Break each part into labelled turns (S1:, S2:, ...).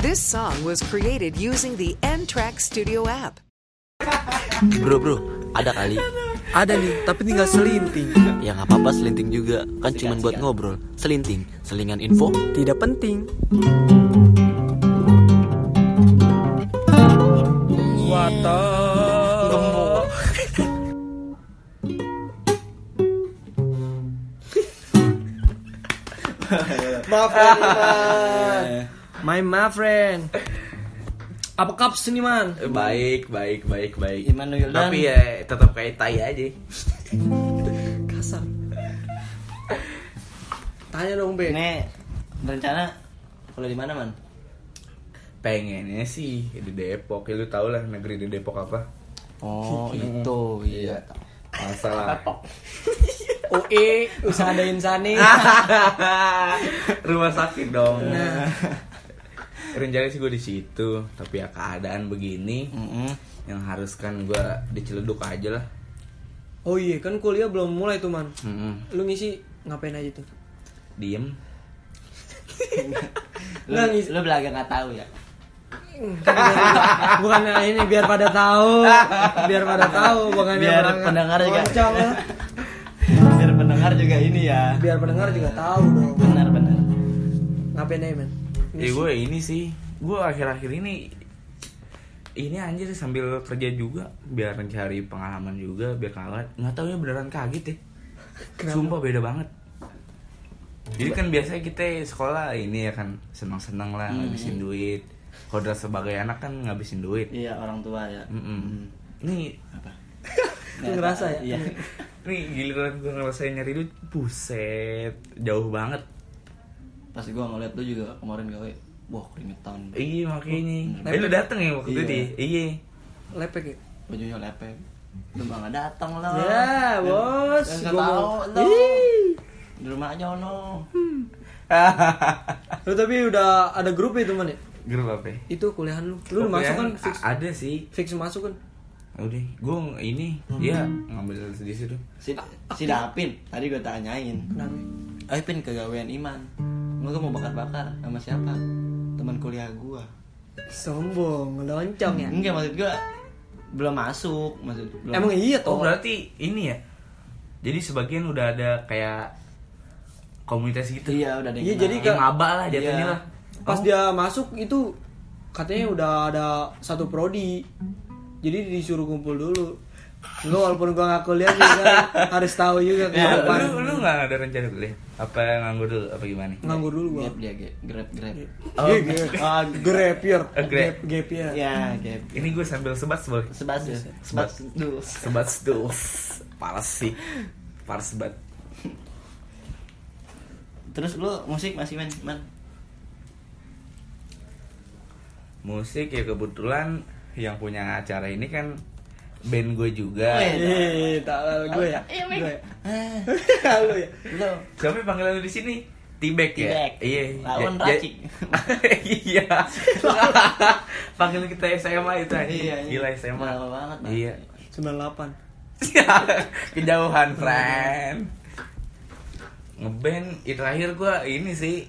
S1: This song was created using the N-Track Studio app.
S2: Bro bro, ada kali
S3: Ada nih, tapi tinggal selinting.
S2: Ya nggak apa-apa selinting juga Kan cuman buat ngobrol Selinting, selingan info
S3: Tidak penting. Wata. Maaf Eh, My my friend. Apa kabar seniman?
S4: Baik, baik, baik, baik.
S3: Iman Yuldan.
S4: Tapi ya tetap kayak tai aja.
S3: Kasar. Tanya dong, Be.
S5: Ini rencana kalau di mana man?
S4: Pengennya sih di Depok. Ya, lu tau lah negeri di Depok apa?
S5: Oh itu iya.
S4: Masalah
S3: OE usah ada insani
S5: Ah.
S4: rumah sakit dong.
S5: Nah.
S4: Rencananya sih gue di situ, tapi ya keadaan begini
S5: Mm-mm.
S4: yang harus kan gue diceleduk aja lah.
S3: oh iya kan kuliah belum mulai tuh man
S4: Mm-mm.
S3: lu ngisi ngapain aja tuh
S4: Diem.
S5: Lu,
S3: Nah, ngisi-
S5: lu belaga nggak tahu ya?
S3: bukan ini biar pada tahu biar pada tahu bukan
S5: Biar pendengar juga.
S3: lah.
S5: Biar pendengar juga ini ya.
S3: biar pendengar juga tahu dong
S5: Benar benar.
S3: ngapain
S5: Iya,
S3: aja man
S4: Ya gue ini sih, gue akhir-akhir ini ini anjir sambil kerja juga biar mencari pengalaman juga biar kaget nggak tahu ya beneran kaget ya sumpah beda banget jadi kan biasanya kita sekolah ini ya kan senang-senang lah ngabisin duit kodrat sebagai anak kan ngabisin duit
S5: Iya orang tua ya.
S4: Mm-mm. ini
S3: Lu ngerasa ya?
S5: Iya.
S4: ini giliran gue ngerasain nyari duit buset jauh banget
S5: Pas gua ngeliat lu juga kemarin gawe. Wah keringetan.
S4: iya makanya eh,
S3: Tapi-
S4: lu dateng ya waktu itu
S5: Iya.
S4: di iya
S3: lepek ya
S5: Bajunya lepek. Lu bangga datang lah.
S3: Ya, bos.
S5: Gak
S3: Gua
S5: tahu
S3: mau-
S5: lu.
S3: Ih.
S5: Di rumah aja ono.
S3: lu tapi udah ada grup ya teman ya
S4: grup apa ya?
S3: itu kuliahan lu lu udah
S4: Pokoknya
S3: masuk kan
S4: a-
S3: fix
S4: ada sih
S3: fix masuk kan
S4: udah gue ini dia ngambil di situ
S5: Si, si Dapin tadi gua tanyain.
S3: kenapa
S5: Eh pin kegawean Iman Lu kan mau bakar-bakar sama siapa? Teman kuliah gua
S3: sombong loncong ya
S5: Enggak maksud gua Belum masuk maksud belum
S3: emang iya
S4: oh
S3: toh
S4: berarti ini ya jadi sebagian udah ada kayak komunitas gitu
S5: Iya udah ada yang
S3: Iya,
S5: kenal.
S3: jadi
S4: yang maba lah jatuhnya
S5: Iya.
S4: lah Oh.
S3: pas dia masuk itu katanya udah ada satu prodi jadi disuruh kumpul dulu Gue walaupun gua nggak kuliah juga harus tahu juga ke
S4: Ya,
S3: depan.
S4: lu lu nggak ada rencana kuliah apa nganggur dulu apa gimana
S3: nganggur dulu gua
S5: Grab dia ge- grab grab
S4: Oh,
S3: Iya, gap.
S5: oh,
S3: Grab year.
S4: Eh, grab.
S3: Gap- gap year.
S5: Ya grab
S4: ini gue sambil sebat boleh
S5: Sebas ya Sebas dulu
S4: sebat tuh parah sih parah sebat
S5: Terus lu musik masih main man
S4: musik ya kebetulan yang punya acara ini kan band gue juga
S5: Wih.
S3: Ih, tak lalu gue ya.
S5: Iya, Ming.
S3: Gue.
S5: Ah,
S3: ya. Lu ya.
S5: Lu
S4: Siapa yang panggilan lu di sini? Tibek ya?
S5: Tibek.
S4: Iya.
S5: Lawan
S4: Ja- ja-
S5: racik.
S4: iya. Panggilan kita SMA itu aja.
S5: Iya, iya.
S4: Gila SMA.
S5: Lama banget, Bang.
S4: Iya.
S3: 98.
S4: Kejauhan, friend. Ngeband itu terakhir gua ini sih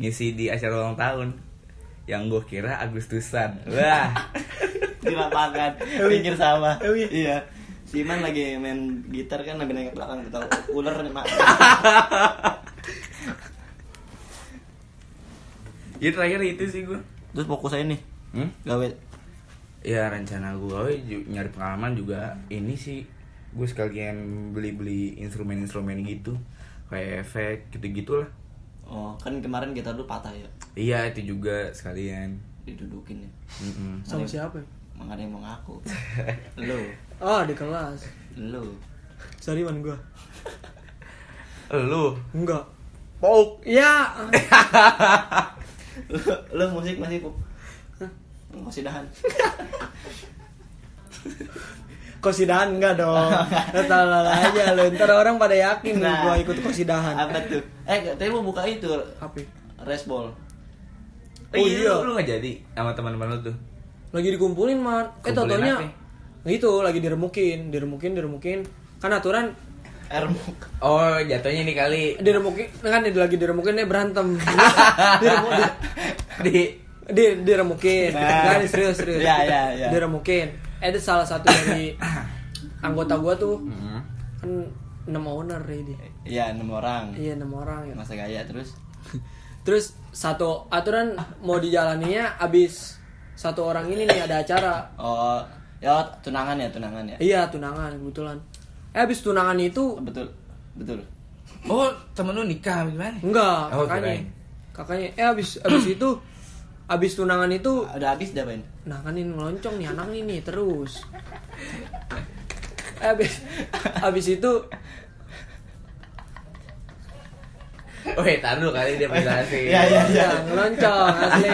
S4: ngisi di acara ulang tahun yang gue kira Agustusan. Wah.
S5: di lapangan
S3: Oh,
S5: pinggir sawah iya si Iman lagi main gitar kan lagi naik ke belakang gitu ular nih mak
S4: ya terakhir itu sih gua.
S5: terus fokus aja nih
S4: Hmm?
S5: gawe
S4: Ya rencana gue nyari pengalaman juga ini sih gue sekalian beli-beli instrumen-instrumen gitu kayak efek gitu-gitulah.
S5: oh kan kemarin gitar lu patah ya
S4: Iya itu juga sekalian.
S5: didudukin ya
S4: Mm-mm.
S3: Sama siapa? ya?
S5: makanya mau ngaku lu
S3: Oh, di kelas.
S5: lu
S3: Sorry man gua.
S4: Lu
S3: Enggak.
S4: pok
S3: Ya,
S5: lu, lu musik masih pup masih dahan
S3: kosidahan enggak dong. Lu tahu aja lu. Ntar orang pada yakin lu
S5: Nah,
S3: gua ikut kosidahan.
S5: apa tuh eh tadi mau buka itu
S3: Apa? ya?
S5: resball
S4: Oh, iya. Lu, lu gak jadi sama teman-teman lu tuh.
S3: lagi dikumpulin man eh
S4: Kumpulin
S3: totonya
S4: apa?
S3: gitu lagi diremukin diremukin diremukin kan aturan
S5: ermuk
S4: Oh jatuhnya ini kali
S3: diremukin kan lagi diremukin eh berantem diremu, di, Kan,
S4: di
S6: Dia diremukin.
S5: Nah.
S6: Enggak, ini serius, serius.
S5: Iya, iya, iya.
S6: Diremukin. Eh, Itu salah satu dari anggota gua tuh
S5: Hmm.
S6: kan 6 owner ya dia.
S5: Iya, enam orang.
S6: Iya, 6 orang ya.
S5: Masa gaya terus.
S6: Terus satu aturan mau dijalaninya abis satu orang ini nih ada acara.
S5: Oh, ya tunangan ya, tunangan ya.
S6: Iya, tunangan kebetulan. Eh abis tunangan itu
S5: Betul. Betul.
S4: Oh, temen lu nikah gimana?
S6: enggak,
S4: Oh,
S6: kakaknya.
S4: kirain.
S6: Kakaknya eh abis abis itu abis tunangan itu
S5: Udah habis dah, Ben.
S6: nah kan ini ngeloncong nih anak ini nih terus. Eh, abis abis itu
S4: Weh, taruh Oh, ya, dulu kali dia penjelasin.
S5: Iya, iya, iya.
S6: ya ngeloncong asli.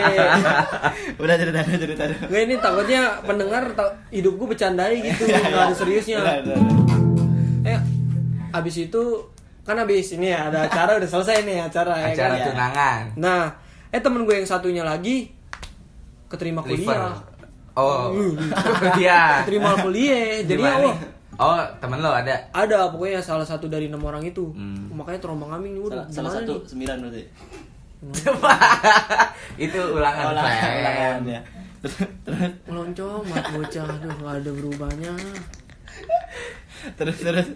S5: Udah cerita dulu, cerita
S3: Iya,
S5: dulu.
S6: Gue ini takutnya pendengar ta- hidup gue bercandai gitu,
S3: iya.
S5: Iya.
S6: nggak ada seriusnya.
S5: Udah, udah, udah.
S6: Eh, abis itu kan abis ini ya ada acara udah selesai nih acara, ya
S4: Acara
S6: kan?
S4: tunangan.
S6: Nah, eh temen gue yang satunya lagi keterima
S4: Liver.
S6: kuliah. Hmm.
S4: Oh, iya.
S6: Keterima kuliah. Jadi ya
S4: Gimana?
S6: wah,
S4: Oh, temen lo ada.
S6: ada pokoknya salah satu dari enam orang itu.
S4: Hmm.
S6: Makanya terombang ambing
S5: Salah,
S6: nih udah
S5: salah
S6: gimana
S5: satu
S6: nih?
S5: sembilan berarti.
S4: Itu ulangan,
S5: Ulangan,
S4: Fen.
S5: ulangan ya. Terus,
S6: Meloncong, mat bocah, aduh gak ada berubahnya.
S5: terus, terus.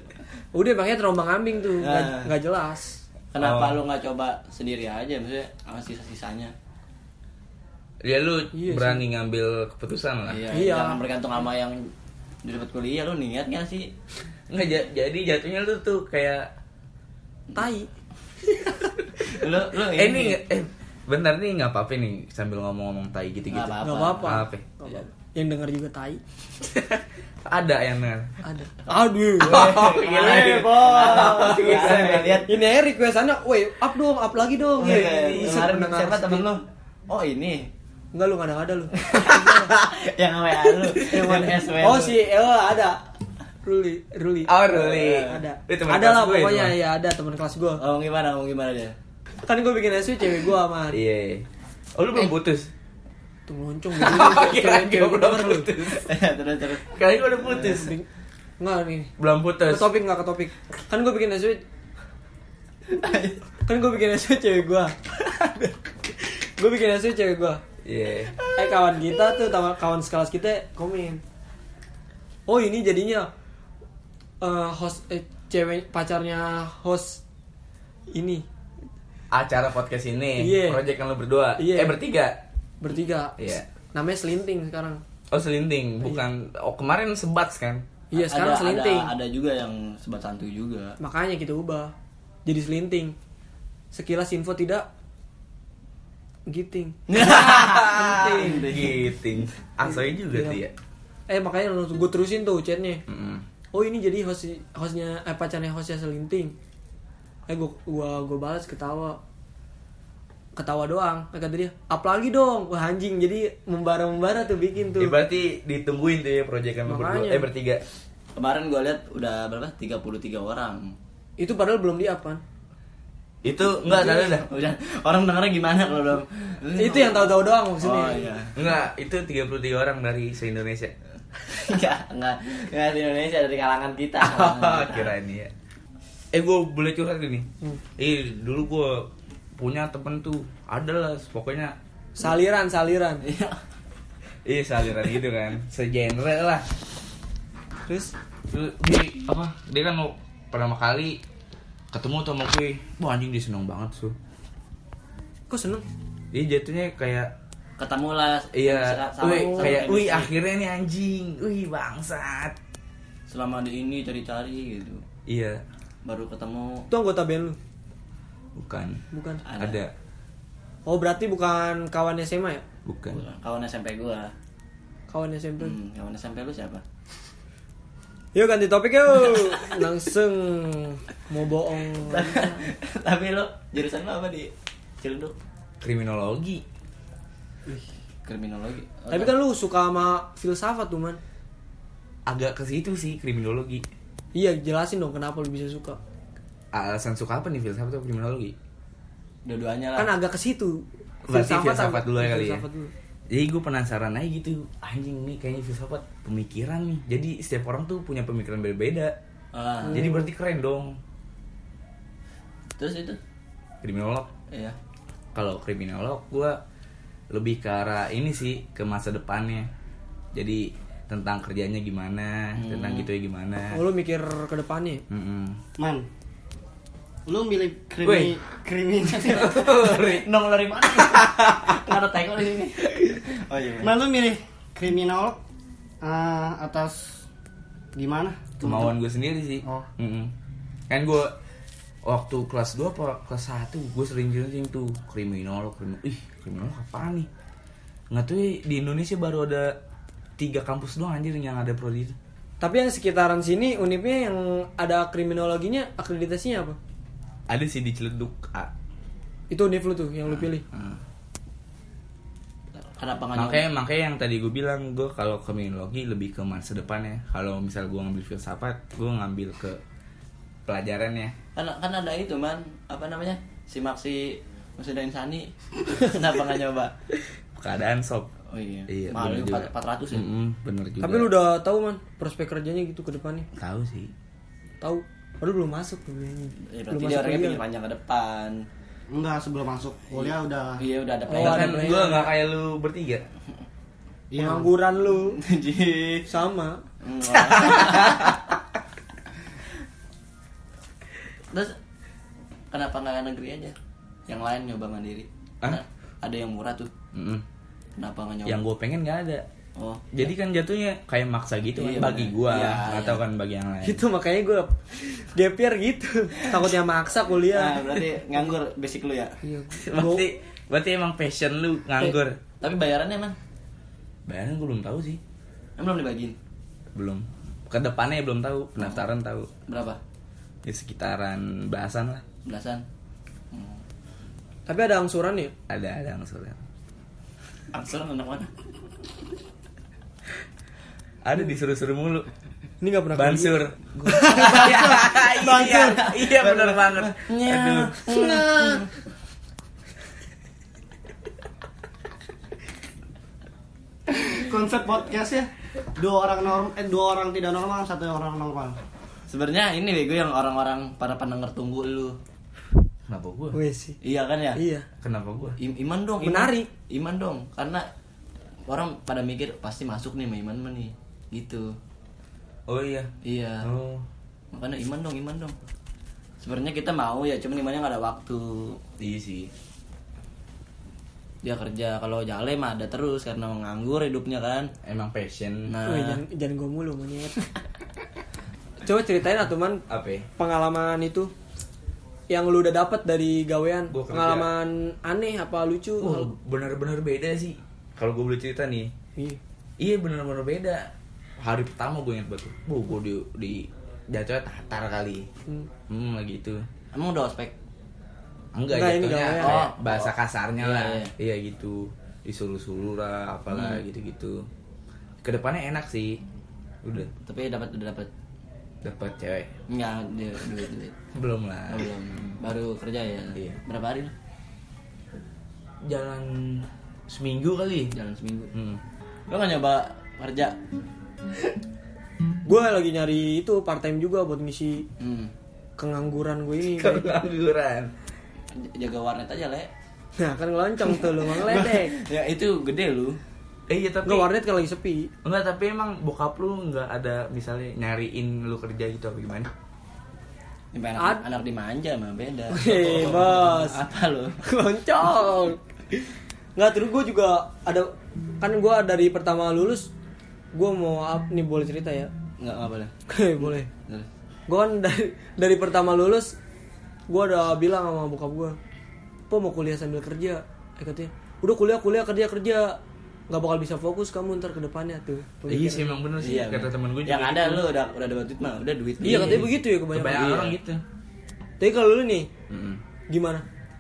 S6: Udah makanya terombang ambing tuh, nggak
S5: Nah.
S6: nggak jelas.
S5: Kenapa
S4: Oh.
S5: lu nggak coba sendiri aja maksudnya sama sisa-sisanya?
S4: Dia lu
S6: Iya sih.
S4: berani ngambil keputusan lah.
S5: Iya,
S6: Iya.
S5: Jangan bergantung sama yang di dapat kuliah lu niat nggak sih?
S4: Nggak, ja- jadi jatuhnya lu tuh kayak
S6: Tai.
S5: Lu lu
S4: eh ini nggak- eh bentar nih nggak apa-apa nih sambil ngomong-ngomong tai gitu-gitu.
S5: Nggak apa-apa.
S6: Nggak apa-apa.
S4: Nggak apa-apa.
S6: Nggak
S5: Iya.
S6: apa-apa. Yang denger juga tai.
S4: ada yang denger.
S6: Ada. Aduh.
S4: Oh,
S6: Eh,
S5: iya.
S4: gila.
S5: bos. ya, lihat.
S6: Ini aja requestannya, woi up dong, up lagi dong.
S5: Iya,
S6: Ih,
S5: kemarin
S6: pendengar
S5: siapa
S6: setia.
S5: temen lu? Oh, ini.
S6: Enggak lu nggak ada lu.
S5: yang WA lu, yang SW.
S6: oh si Ewa ada. Ruli, Ruli.
S4: Oh, Ruli.
S6: Ada.
S4: Itu teman
S6: Ada
S4: kelas
S6: lah
S4: gue itu,
S6: pokoknya
S4: Bang.
S6: ya ada teman kelas gue.
S5: Oh, gimana? Mau gimana dia?
S6: Kan gue bikin SW cewek gue sama
S4: Iya. Oh, lu belum putus?
S6: tuh loncong
S4: Oh, kirain
S6: Cewek gue
S4: gue belum
S6: denger lu.
S4: putus.
S5: terus terus.
S4: Kirain gue udah putus.
S6: Enggak nih.
S4: Belum
S6: Ke
S4: putus.
S6: topik enggak ke topik. Kan gue bikin SW kan gue bikin SW cewek gue. gue bikin SW cewek gue.
S4: Iya.
S6: eh kawan kita tuh tawa- kawan sekelas kita komen oh ini jadinya eh, host eh, cewek pacarnya host ini
S4: Acara podcast ini,
S6: Iya.
S4: project yang lu berdua.
S6: Iya.
S4: Eh, bertiga.
S6: bertiga
S4: Iya.
S6: namanya selinting sekarang
S4: Oh, selinting, bukan oh kemarin sebats kan?
S6: iya sekarang
S5: Ada-
S6: selinting
S5: Ada, ada juga yang sebat santuy juga.
S6: makanya kita ubah jadi selinting sekilas info tidak giting
S4: Giting. Gitu. Asoy juga
S6: Iya.
S4: tuh ya.
S6: eh makanya langsung gue terusin tuh chatnya
S5: Hmm.
S4: Mm-mm.
S6: oh ini jadi host hostnya eh pacarnya hostnya selinting eh gua gua gua balas ketawa ketawa doang eh, kata dia up lagi dong wah anjing jadi membara membara tuh bikin tuh
S4: Eh, berarti ditungguin tuh ya project yang lu berdua.
S6: Makanya.
S4: Eh, bertiga.
S5: Kemarin gua lihat udah berapa? 33 orang.
S6: itu padahal belum di up kan
S4: Itu enggak ada dah.
S5: Udah, orang dengernya gimana kalau belum?
S6: itu yang tahu-tahu doang maksudnya
S5: Oh iya.
S4: Enggak, itu 33 orang dari se-Indonesia.
S5: Enggak, enggak. Enggak di Indonesia dari kalangan kita. Nah, Ah.
S4: Oh, kirain ya. Eh, gue boleh curhat ini.
S6: Hmm.
S4: Eh, dulu gue punya temen tuh, ada lah pokoknya
S6: saliran saliran
S5: Iya.
S4: Iya saliran gitu kan, segenre lah.
S6: terus
S4: Terus Dia apa? Dia kan mau- pertama kali ketemu tuh sama gue, wah anjing dia seneng banget tuh.
S6: kok seneng
S4: Dia jatuhnya kayak
S5: Ketemu lah.
S4: iya,
S5: sama-
S4: wih
S5: sama
S4: kayak
S5: chemistry.
S4: wih ah. akhirnya nih anjing, wih bangsat.
S5: Selama di ini cari-cari gitu.
S4: Iya,
S5: Baru ketemu.
S6: itu anggota band lu
S4: bukan.
S6: bukan
S5: Ada.
S4: Ada,
S6: oh berarti bukan kawan SMA ya
S4: bukan.
S5: Kawan SMP gua.
S6: kawan SMP
S5: Hmm, kawan SMP lu siapa?
S6: yuk ganti topik yuk langsung mau bohong
S5: Tapi lu jurusan lu apa di Cilunduk?
S4: Kriminologi.
S5: Kriminologi. Oh,
S6: tapi kan lu suka sama filsafat tuh man
S4: Agak ke situ sih kriminologi.
S6: Iya, jelasin dong kenapa lu bisa suka.
S4: Alasan suka apa nih filsafat atau kriminologi?
S5: dua-duanya lah.
S6: Kan agak ke situ.
S4: Berarti
S6: agak-
S4: filsafat dulu ya kali ya.
S6: filsafat dulu.
S4: Jadi gue penasaran aja gitu, anjing nih kayaknya filsafat pemikiran nih. Jadi setiap orang tuh punya pemikiran beda-beda.
S5: Ah,
S4: Jadi berarti keren dong
S5: terus itu.
S4: kriminolog.
S5: Iya.
S4: Kalau kriminolog gue lebih ke arah ini sih ke masa depannya jadi tentang kerjanya gimana
S5: Hmm.
S4: tentang gitu ya gimana
S6: Oh, lu mikir ke depannya.
S4: Mm-mm.
S5: Oh. Man, lu milih
S4: Weh.
S5: krimi krimi nong dari mana? Nggak ada teko di sini.
S7: Oh iya.
S5: Man lu milih kriminolog eh, atas gimana?
S4: kemauan gue sendiri sih
S5: Oh.
S4: Mm-mm. kan gue waktu kelas 2 apa kelas 1 gue sering sering tuh kriminolog kriminolog ih kriminolog apaan nih nggak tuh di Indonesia baru ada tiga kampus doang anjir yang ada prodi itu
S6: Tapi yang sekitaran sini unipnya yang ada kriminologinya akreditasinya apa?
S4: ada sih di Ciledug A
S6: Itu univ lu tuh yang lu pilih.
S5: Kenapa nggak
S4: makanya makanya yang tadi gue bilang gue kalau kriminologi lebih ke masa depannya kalau misal gue ngambil filsafat gue ngambil ke ya. pelajarannya
S5: kan kan ada itu man apa namanya si Maxi Maksudnya Insani kenapa nggak nyoba
S4: keadaan sob
S5: oh iya, mahal
S4: bener
S5: juga empat ratus ya
S4: Mm-mm, bener juga
S6: Tapi lu udah tahu man prospek kerjanya gitu ke depannya.
S4: tahu sih
S6: Tahu. Padahal belum masuk tuh kayaknya.
S5: Ya, berarti
S6: Belum
S5: dia
S6: masuk
S5: orangnya
S6: kuliah.
S5: pinggir panjang ke depan
S3: Enggak sebelum masuk kuliah udah
S5: iya udah ada
S6: Oh, ada
S5: plan
S4: kan
S6: plan.
S4: gue nggak kayak lu bertiga
S3: Iya.
S6: Pengangguran lu
S5: Ji.
S6: sama.
S5: Mm. terus kenapa nggak negeri aja yang lain nyoba mandiri
S4: Hah?
S5: Nah, ada yang murah tuh
S4: Mm-mm.
S5: kenapa nggak nyoba
S4: yang gue pengen nggak ada
S5: oh
S4: jadi kan jatuhnya kayak maksa gitu kan
S5: Iya,
S4: bagi
S5: bener.
S4: gue
S5: Iya,
S4: atau
S5: iya.
S4: kan bagi yang lain
S6: Gitu makanya gue GPR gitu. Takutnya maksa kuliah.
S5: nah, berarti nganggur basic lu ya
S6: Iya.
S4: berarti berarti emang passion lu nganggur
S5: tapi bayarannya man
S4: bayaran gue belum tahu sih
S5: Emang belum dibagiin
S4: belum kedepannya belum tahu pendaftaran tahu
S5: berapa
S4: ya sekitaran bahasan lah
S5: belasan hmm.
S6: Tapi ada angsuran ya?
S4: ada ada angsuran
S5: Angsuran anak mana?
S4: ada disuruh-suruh mulu
S6: Ini nggak pernah
S4: bansur
S6: kuliah.
S4: bansur iya bener banget
S5: Eh,
S4: aduh
S3: Konsep podcast ya. Dua orang normal eh dua orang tidak normal, satu orang normal.
S5: Sebenarnya ini bego yang orang-orang para pendengar tunggu lu.
S4: kenapa gue
S6: Wih sih.
S5: Iya kan ya?
S6: Iya.
S4: kenapa gue
S5: I- iman dong. Iman.
S6: Menarik.
S5: Iman dong, karena orang pada mikir pasti masuk nih sama Iman mah nih. Gitu.
S4: oh iya
S5: Iya.
S4: oh
S5: Makanya Iman dong, Iman dong. Sebenarnya kita mau ya, cuman Imannya nggak ada waktu.
S4: iya sih
S5: Dia kerja kalau jale mah ada terus karena nganggur hidupnya kan.
S4: emang passion
S5: Nah,
S6: Wih, jangan, jangan gue mulu monyet. Coba ceritain atuh man
S4: apa ya?
S6: pengalaman itu yang lu udah dapat dari gawean
S4: Gua kerja. Oh.
S6: pengalaman aneh apa lucu
S4: Wah, bener-bener beda sih. Kalau gue boleh cerita nih,
S6: Iya.
S4: iya bener-bener beda. Hari pertama gue ingat banget, tuh. bu, gue di, di jatuhnya tatar kali.
S6: Hmm.
S4: Hmm, lagi itu.
S5: emang udah ospek.
S6: Enggak,
S4: Enggak,
S6: ya. ini
S4: jatuhnya
S6: gawean.
S4: kayak
S5: Oh.
S4: bahasa kasarnya
S5: Iya,
S4: lah.
S5: iya.
S4: Iya gitu, disuruh-suruh lah,
S5: Hmm,
S4: apalah gitu-gitu. Kedepannya enak sih, udah
S5: Tapi dapat udah dapat.
S4: dapat cewek.
S5: Enggak, dia duit duit.
S4: Belum lah.
S5: Oh, belum. Baru kerja ya.
S4: Iya.
S5: Berapa hari lu?
S4: Jalan seminggu kali.
S5: Jalan seminggu.
S4: Hmm.
S5: Lo gak nyoba kerja?
S6: gue lagi nyari itu part time juga buat ngisi
S5: Hmm.
S6: kengangguran gue ini Bay.
S4: Pengangguran.
S5: J- Jaga warnet aja, Le.
S6: nah kan ngeloncong tuh lu mang ledek
S5: Ya itu gede lu.
S4: Eh, iya tapi
S6: nggak warnet kan lagi sepi
S4: Enggak, tapi emang bokap lu nggak ada misalnya nyariin lu kerja gitu apa gimana?
S5: Ya, anak,
S6: Ad-
S5: anak dimanja mah beda.
S6: Hei, bos.
S5: Apa lu?
S6: loncong nggak terus gue juga ada kan gue dari pertama lulus gue mau up nih boleh cerita ya
S5: Enggak apa boleh.
S6: Oke, boleh
S5: Terus.
S6: gue kan dari dari pertama lulus gue udah bilang sama bokap gue po mau kuliah sambil kerja eh katanya udah kuliah kuliah kerja kerja nggak bakal bisa fokus kamu ntar ke depannya tuh
S4: Iya sih emang bener sih
S5: bener.
S4: kata temen gue juga.
S5: iya.
S4: gitu.
S5: Yang ada lu udah udah dapat duit mah, udah duit.
S6: iya katanya begitu ya kebanyakan,
S4: Kebanyakan
S6: Iya.
S4: orang gitu.
S6: tapi kalau lu nih
S4: Mm-mm.
S6: gimana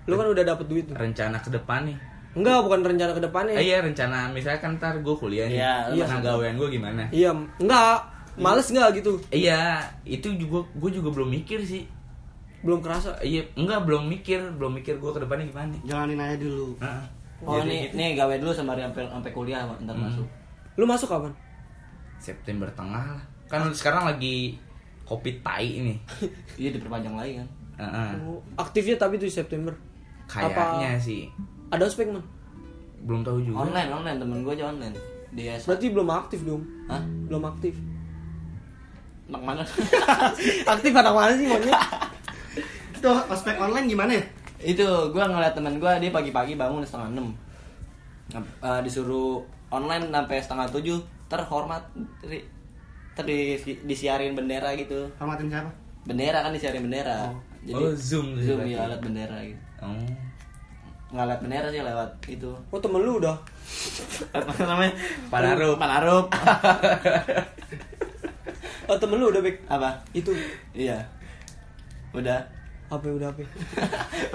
S6: lu kan udah dapet duit tuh
S4: Rencana ke depan nih.
S6: enggak bukan rencana ke depannya
S4: Eh, iya rencana misalkan ntar gue kuliah nih.
S5: Iya, lu
S4: Iya, gawean gue gimana?
S6: iya enggak males enggak gitu
S4: Iya, itu juga gue juga belum mikir sih.
S6: belum kerasa
S4: Iya, enggak belum mikir, belum mikir gue ke depannya gimana.
S3: Jalanin aja dulu.
S4: Heeh.
S5: Oh
S4: Jadi
S5: nih, nih gawe dulu sampai sampai sampai kuliah ntar masuk.
S6: lu masuk kapan
S4: September tengah lah. Kan sekarang lagi covid tai ini.
S5: Iya diperpanjang lagi kan.
S4: Heeh.
S6: Oh, aktifnya tapi tuh di September Apa-
S4: Kayaknya sih.
S6: ada ospek man
S4: belum tahu juga
S5: online online temen gue aja online di S
S6: Berarti belum aktif dong.
S5: Hah?
S6: Belum aktif.
S5: anak mana
S6: aktif anak mana sih maunya?
S8: Itu ospek online gimana ya?
S5: itu gue ngeliat temen gue dia pagi-pagi bangun setengah enam Ngap- eh, disuruh online sampai setengah tujuh terhormat ter, ter di- disiarin bendera gitu
S8: Hormatin siapa?
S5: bendera kan disiarin bendera jadi
S4: Oh, Zoom tuh
S5: zoom
S4: berarti.
S5: ya alat bendera gitu
S4: oh.
S5: ngalat bendera sih lewat itu
S6: Oh temen lu udah.
S5: apa namanya
S4: Palarup.
S5: palarup
S6: Oh temen lu udah baik.
S5: apa
S6: Itu
S5: iya udah
S6: HP udah HP.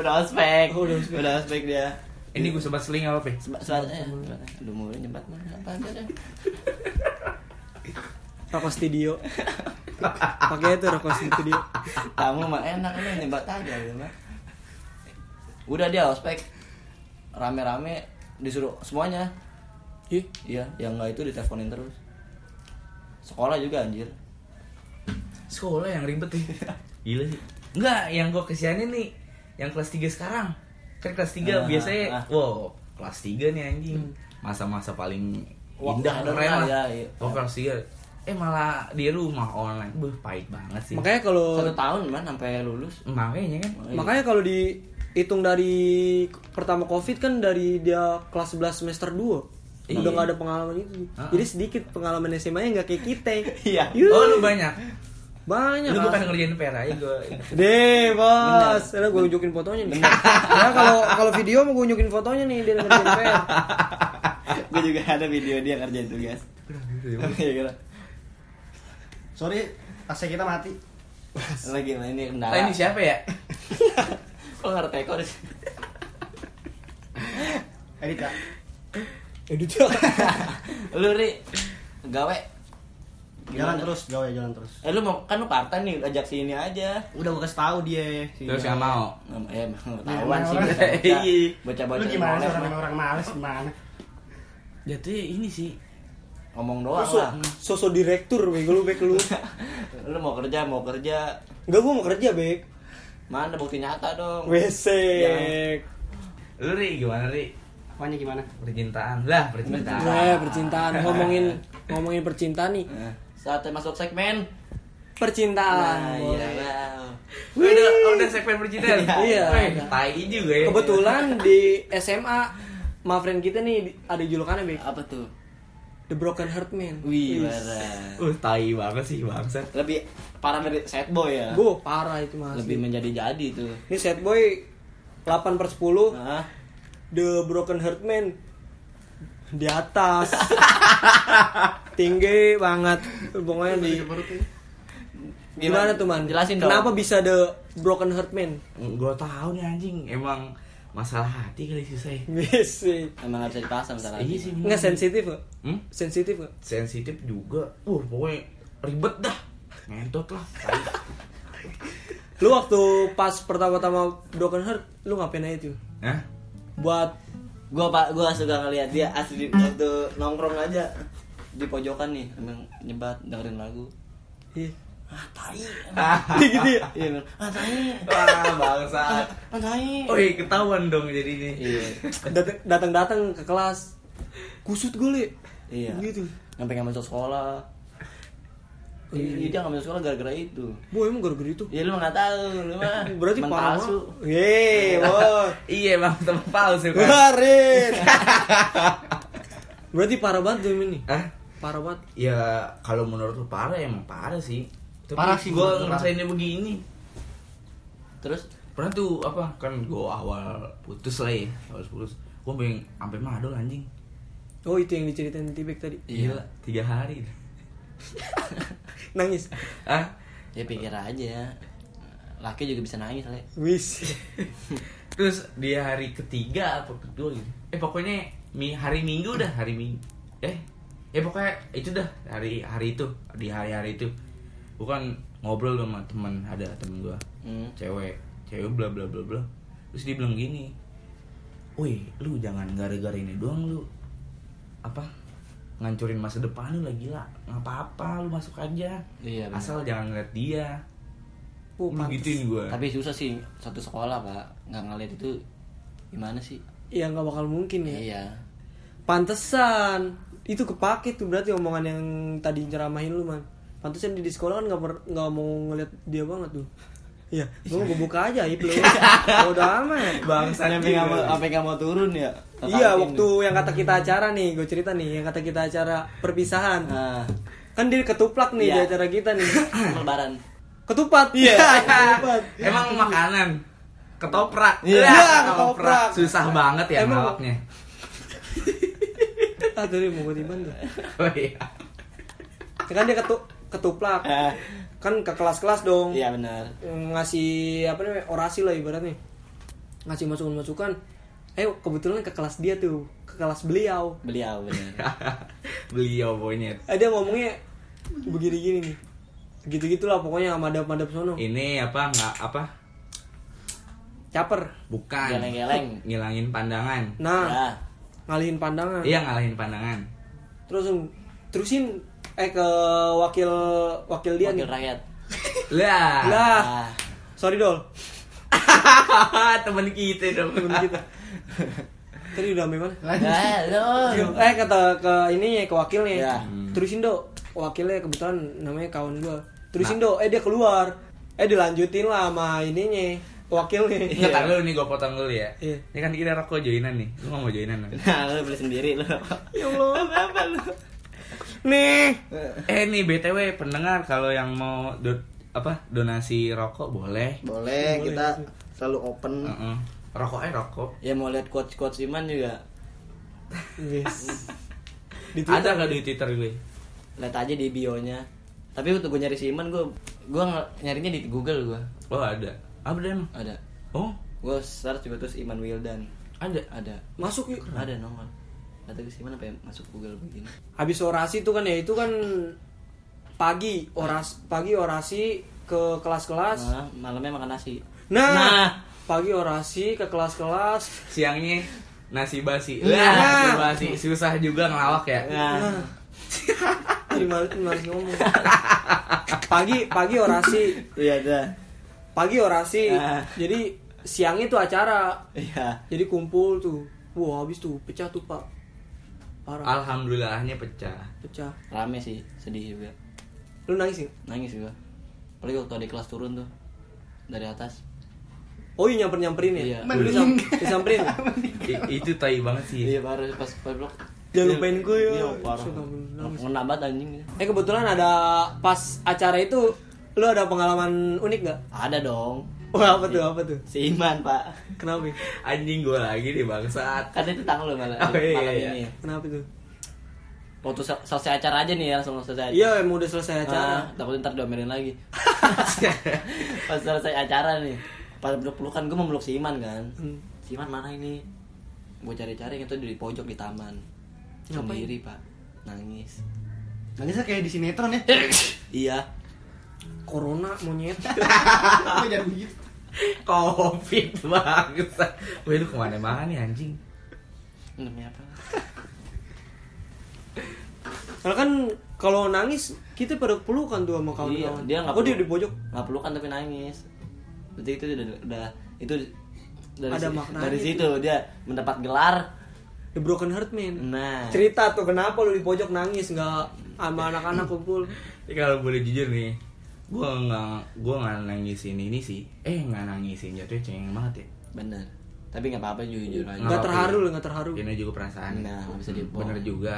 S5: udah ospek
S6: Oh, udah ospek.
S5: dia
S4: ini gue sobat seling apa pe
S5: Seba- sebat eh, sebat- eh, udah mulai nyebat apa aja deh
S6: Rokok studio. Pakai itu rokok studio.
S5: kamu mah enak lu nyebat aja gitu mah udah dia ospek rame-rame disuruh semuanya
S6: Ih,
S5: iya yang nggak itu diteleponin terus sekolah juga anjir
S4: sekolah yang ribet ya gila sih enggak yang gue kesianin nih yang kelas 3 sekarang kan kelas 3
S5: Ah,
S4: biasanya
S5: ah.
S4: wow kelas 3 nih anjing masa-masa paling
S5: Wah,
S4: indah
S5: keren
S4: keren
S5: lah,
S4: lah
S5: ya, iya.
S4: Wah, kelas 3 eh malah di rumah online Beuh, pahit banget sih
S6: makanya kalau
S5: satu tahun man sampai lulus Iya.
S4: makanya kan
S6: makanya kalau dihitung dari pertama Covid kan dari dia kelas 11 semester 2.
S4: Iya.
S6: Udah gak ada pengalaman itu.
S4: Ah.
S6: Jadi sedikit pengalaman SMA nya gak kayak kita.
S5: Iya.
S6: Yuh.
S4: oh lu banyak
S6: Banyak.
S4: lu
S6: ah.
S4: bukan ngerjain PR aja gue
S6: Deh, bos. Karena gue unjukin fotonya nih. Karena kalau kalau video mau gue unjukin fotonya nih dia ngerjain PR.
S5: gue Ah, juga ada video dia ngerjain tugas Iya, kira.
S8: Sorry, AC kita mati.
S5: lagi main Nah, ini kendala
S4: ini siapa ya
S5: kalau nggak ada teko di sini.
S8: Edit ya.
S6: Edit.
S5: lu ri gawe
S8: Jalan
S5: Gimana?
S8: terus, gawe jalan terus.
S5: eh lu mau kan lu partai nih ajak sini aja
S8: Udah gue kasih tahu dia. si-
S4: terus gak mau
S5: Em- eh emang ketahuan sih
S8: Iya, orang-
S5: baca baca
S8: Lu gimana sih orang orang males gimana?
S4: jatuhnya ini sih
S5: ngomong doang
S6: So,
S5: lah
S6: sosok direktur bego lu bek lu.
S5: lu mau kerja mau kerja
S6: Enggak gua mau kerja bek.
S5: mana bukti nyata dong
S6: WC.
S5: Iya.
S4: lu ri gimana ri
S8: Apanya gimana?
S4: percintaan lah percintaan
S6: Nah, percintaan ngomongin ngomongin percintaan nih.
S5: Nah, saatnya masuk segmen
S6: Percintaan.
S5: iya
S6: Ah, boleh.
S5: wow.
S4: udah udah segmen percintaan
S6: Iya.
S4: Wih, tai juga ya
S6: Kebetulan di SMA Mafren kita nih ada julukannya bek.
S5: apa tuh
S6: The Broken Heart Man.
S5: wih
S6: Wis.
S5: parah.
S4: Uh, tai banget sih bangsat.
S5: lebih parah dari sad boy ya
S6: Bu, parah itu mas.
S5: lebih menjadi-jadi tuh
S6: Ini set boy 8 per 10
S5: Nah,
S6: The Broken Heart Man di atas tinggi banget pokoknya di gimana tuh man
S5: jelasin dong
S6: kenapa bisa The Broken Heart Man
S4: Gua tahu nih anjing, emang masalah hati kali sih saya.
S6: bisa
S5: emang nggak bisa dipasang ntar
S4: Iya
S5: lagi.
S4: sih. bener.
S6: nggak sensitif nggak
S4: Hmm?
S6: sensitif nggak
S4: Sensitif juga. Uh, pokoknya ribet dah. Ngentot lah. Tai.
S6: lu waktu pas pertama-tama Broken Heart lu ngapain aja tuh
S4: Hah?
S6: buat
S5: gua pak gua suka ngeliat dia asli waktu nongkrong aja di pojokan nih emang nyebat dengerin lagu
S6: ih,
S5: ah tai
S6: gitu ya
S5: iya emang, ah tai
S4: Wah, bangsat.
S5: ah tai
S4: Wih, ketahuan dong jadinya.
S5: iya
S6: Dat- datang-datang ke kelas kusut gue li
S5: iya
S6: gitu Oh,
S5: sampai nggak masuk sekolah Iya, dia nggak masuk sekolah gara-gara itu
S6: bu emang gara-gara itu
S5: ya lu mah nggak tahu lu mah
S6: berarti
S5: teman
S6: parah
S5: palsu
S6: banget. yeay boy
S4: Iya, emang teman palsu kan.
S6: Kemarin. Berarti parah banget game ini.
S4: Hah?
S6: Parah banget.
S4: Ya, kalau menurut lu parah emang parah sih. Tapi
S8: Parah sih, menurut
S4: gua
S8: gua
S4: ngerasainnya begini.
S5: terus
S4: Pernah tuh apa? Kan gua awal putus lah ya, awal putus. Gua pengen sampai madol anjing.
S6: Oh itu yang diceritain Tibek tadi.
S5: Iya.
S4: Gila, tiga hari.
S6: Nangis.
S4: Ah,
S5: ya pikir aja laki juga bisa nangis le
S6: Wis.
S4: terus di hari ketiga apa kedua gitu eh pokoknya mi hari minggu dah hari minggu eh eh pokoknya itu dah hari hari itu di hari hari itu bukan ngobrol sama teman ada temen gua
S5: Hmm.
S4: cewek cewek bla bla bla bla terus dia bilang gini woi lu jangan gara-gara ini doang lu apa ngancurin masa depan lu lagi lah nggak apa-apa lu masuk aja
S5: Iya, bener.
S4: asal jangan ngeliat dia
S6: Oh,
S4: lu gituin gua
S5: tapi susah sih satu sekolah pak nggak ngeliat itu gimana sih
S3: Iya,
S6: Ya nggak bakal mungkin ya.
S5: iya
S3: Pantesan itu kepake tuh berarti omongan yang tadi ceramahin lu man. Pantesan di, di sekolah kan nggak per- nggak mau ngeliat dia banget tuh. Iya, gua gue buka aja aib lu. Bodo amat.
S4: Bangsa
S5: Sampai nggak mau, sampai nggak mau turun ya.
S3: Iya, waktu yang kata kita acara nih, gue cerita nih, yang kata kita acara perpisahan.
S5: Nah,
S3: Kan dia ketuplak nih di
S5: Iya.
S3: acara kita nih.
S5: lebaran.
S3: Ketupat. Iya. ketupat.
S4: Emang makanan ketoprak.
S3: Ya, Iya,
S4: Lah,
S3: ketoprak. Iya.
S4: Susah banget ya
S3: Emang-
S4: ngelaknya.
S3: Ah, tadi mau gue tiban tuh.
S4: Oh iya.
S3: Kan dia ketu ketuplak.
S5: Eh,
S3: Kan ke kelas-kelas dong.
S5: Iya benar.
S3: ngasih apa namanya orasi lah ibaratnya ngasih masukan masukan eh kebetulan ke kelas dia tuh ke kelas beliau
S5: Beliau benar.
S4: Beliau monyet.
S3: eh, dia ngomongnya begini gini nih gitu gitulah pokoknya madap madap sono
S5: Iya.
S4: Ini apa nggak apa?
S3: caper
S4: Bukan.
S5: Geleng-geleng.
S4: Ngilangin pandangan.
S3: nah
S5: Ya.
S3: ngalihin pandangan
S4: Iya ngalahin pandangan.
S3: terus
S6: um,
S3: terusin eh ke wakil wakil dia
S5: Wakil
S3: nih
S5: rakyat.
S4: Lah.
S3: lah
S5: Ah,
S3: sorry dol
S4: Temen kita dong.
S3: temen kita tadi udah sampai mana
S5: Ah, Halo.
S3: eh kata ke ini ke wakilnya
S5: Ya.
S3: terusin do wakilnya kebetulan namanya kawan gua terusin
S5: Nah.
S3: do eh dia keluar eh dilanjutin lah sama ininya wakilnya
S4: Iya. Ntar lu nih gue potong dulu ya.
S3: Iya.
S4: Ini kan kita rokok joinan nih. Lu nggak mau joinan? kan?
S5: Nah, lu beli sendiri lu. Ya
S3: Allah.
S5: Apa lu?
S3: nih
S4: eh nih btw pendengar kalau yang mau do- apa donasi rokok boleh.
S9: Boleh, kita selalu open.
S3: Hmm.
S5: Ah.
S4: Heeh. Rokok eh rokok.
S5: Ya mau lihat quotes-quotes Iman juga.
S3: yes. di
S4: Ada
S3: Twitter
S4: nggak di Twitter gue?
S5: Lihat aja di bio-nya. Tapi waktu gue nyari si Iman, gue gue nyarinya di Google gue.
S4: Oh ada. Apa ada emang?
S5: Ada.
S4: Oh
S5: Gue search juga terus Iman Wildan.
S4: ada.
S5: Ada.
S3: masuk yuk
S5: Ada nongol. Kata gue si Iman apa yang masuk Google begini.
S3: habis orasi itu kan ya itu kan pagi oras pagi orasi ke kelas-kelas
S5: Malah malamnya makan nasi.
S3: nah,
S5: Nah.
S3: pagi orasi ke kelas-kelas
S4: Siangnya nasi basi.
S3: Nah.
S4: Lah, nasi basi susah juga ngelawak ya.
S5: Nah,
S3: Tadi malas malas ngomong pagi pagi orasi
S5: iya ada.
S3: pagi orasi
S5: Ah.
S3: jadi siang itu acara
S5: Iya.
S3: jadi kumpul tuh wah habis tuh pecah tuh pak
S5: Ah.
S3: parah
S4: Alhamdulillahnya pecah.
S3: pecah
S5: Rame sih, sedih juga.
S3: lu nangis nggak?
S5: Nangis juga. Apalagi waktu adik kelas turun tuh dari atas.
S3: oh iya nyamper nyamperin ya
S5: Iya.
S3: Lu disam- disamperin ya?
S4: I- itu tai banget sih.
S5: Iya baru pas pas blok.
S3: jangan lupain gue ya
S5: Iya, parah.
S3: Suka nangis.
S5: Ngena banget anjing.
S3: eh kebetulan ada pas acara itu lu ada pengalaman unik nggak
S5: Ada dong.
S3: wah apa tuh
S5: Iya.
S3: apa tuh
S5: Si Iman, Pak.
S3: kenapa ya?
S4: Anjing gue lagi nih bangsat.
S5: Kan itu tanggal lo malah
S4: Oh, iya,
S5: malam
S4: iya.
S5: ini.
S3: kenapa tuh
S5: Waktu sel- selesai acara aja nih ya, langsung selesai. acara.
S3: iya emang udah
S5: Ah,
S3: selesai acara
S5: takut ntar diomelin lagi. Pas selesai acara nih. Pas peluk-pelukan gue memeluk si Iman kan.
S3: Hmm.
S5: Si Iman mana ini? Gue cari-cari itu di pojok di taman. Sendiri, Pak. Nangis.
S9: Nangisnya kayak di sinetron ya.
S5: Iya.
S3: corona monyet
S9: Kenapa jadi begitu?
S4: Covid bangsat. Wih lu kemana-mana nih anjing.
S5: Namanya apa?
S3: Karena kan kalau nangis kita pada pelukan tuh sama kawan-kawan.
S5: Iya, dia nggak
S3: oh dia
S5: perlu-
S3: di pojok.
S5: Nggak pelukan tapi nangis. Berarti itu udah, udah itu dari
S3: Ada
S5: si-
S3: maknanya
S5: dari
S3: itu.
S5: situ dia mendapat gelar.
S3: The Broken Heart Man.
S5: Nah,
S3: Hmm. Cerita tuh kenapa lu di pojok nangis nggak sama anak-anak kumpul.
S4: Tapi kalau boleh jujur nih, gue nggak gue nggak nangisin ini sih. Eh nggak nangisin jatuhnya cengeng banget ya.
S5: bener. Tapi nggak apa-apa Iya. jujur aja.
S3: Nggak
S4: apa-apa.
S3: terharu lu, nggak terharu.
S4: Ini juga perasaan. Hmm,
S5: Nah, nggak bisa dibohong.
S4: Bener juga.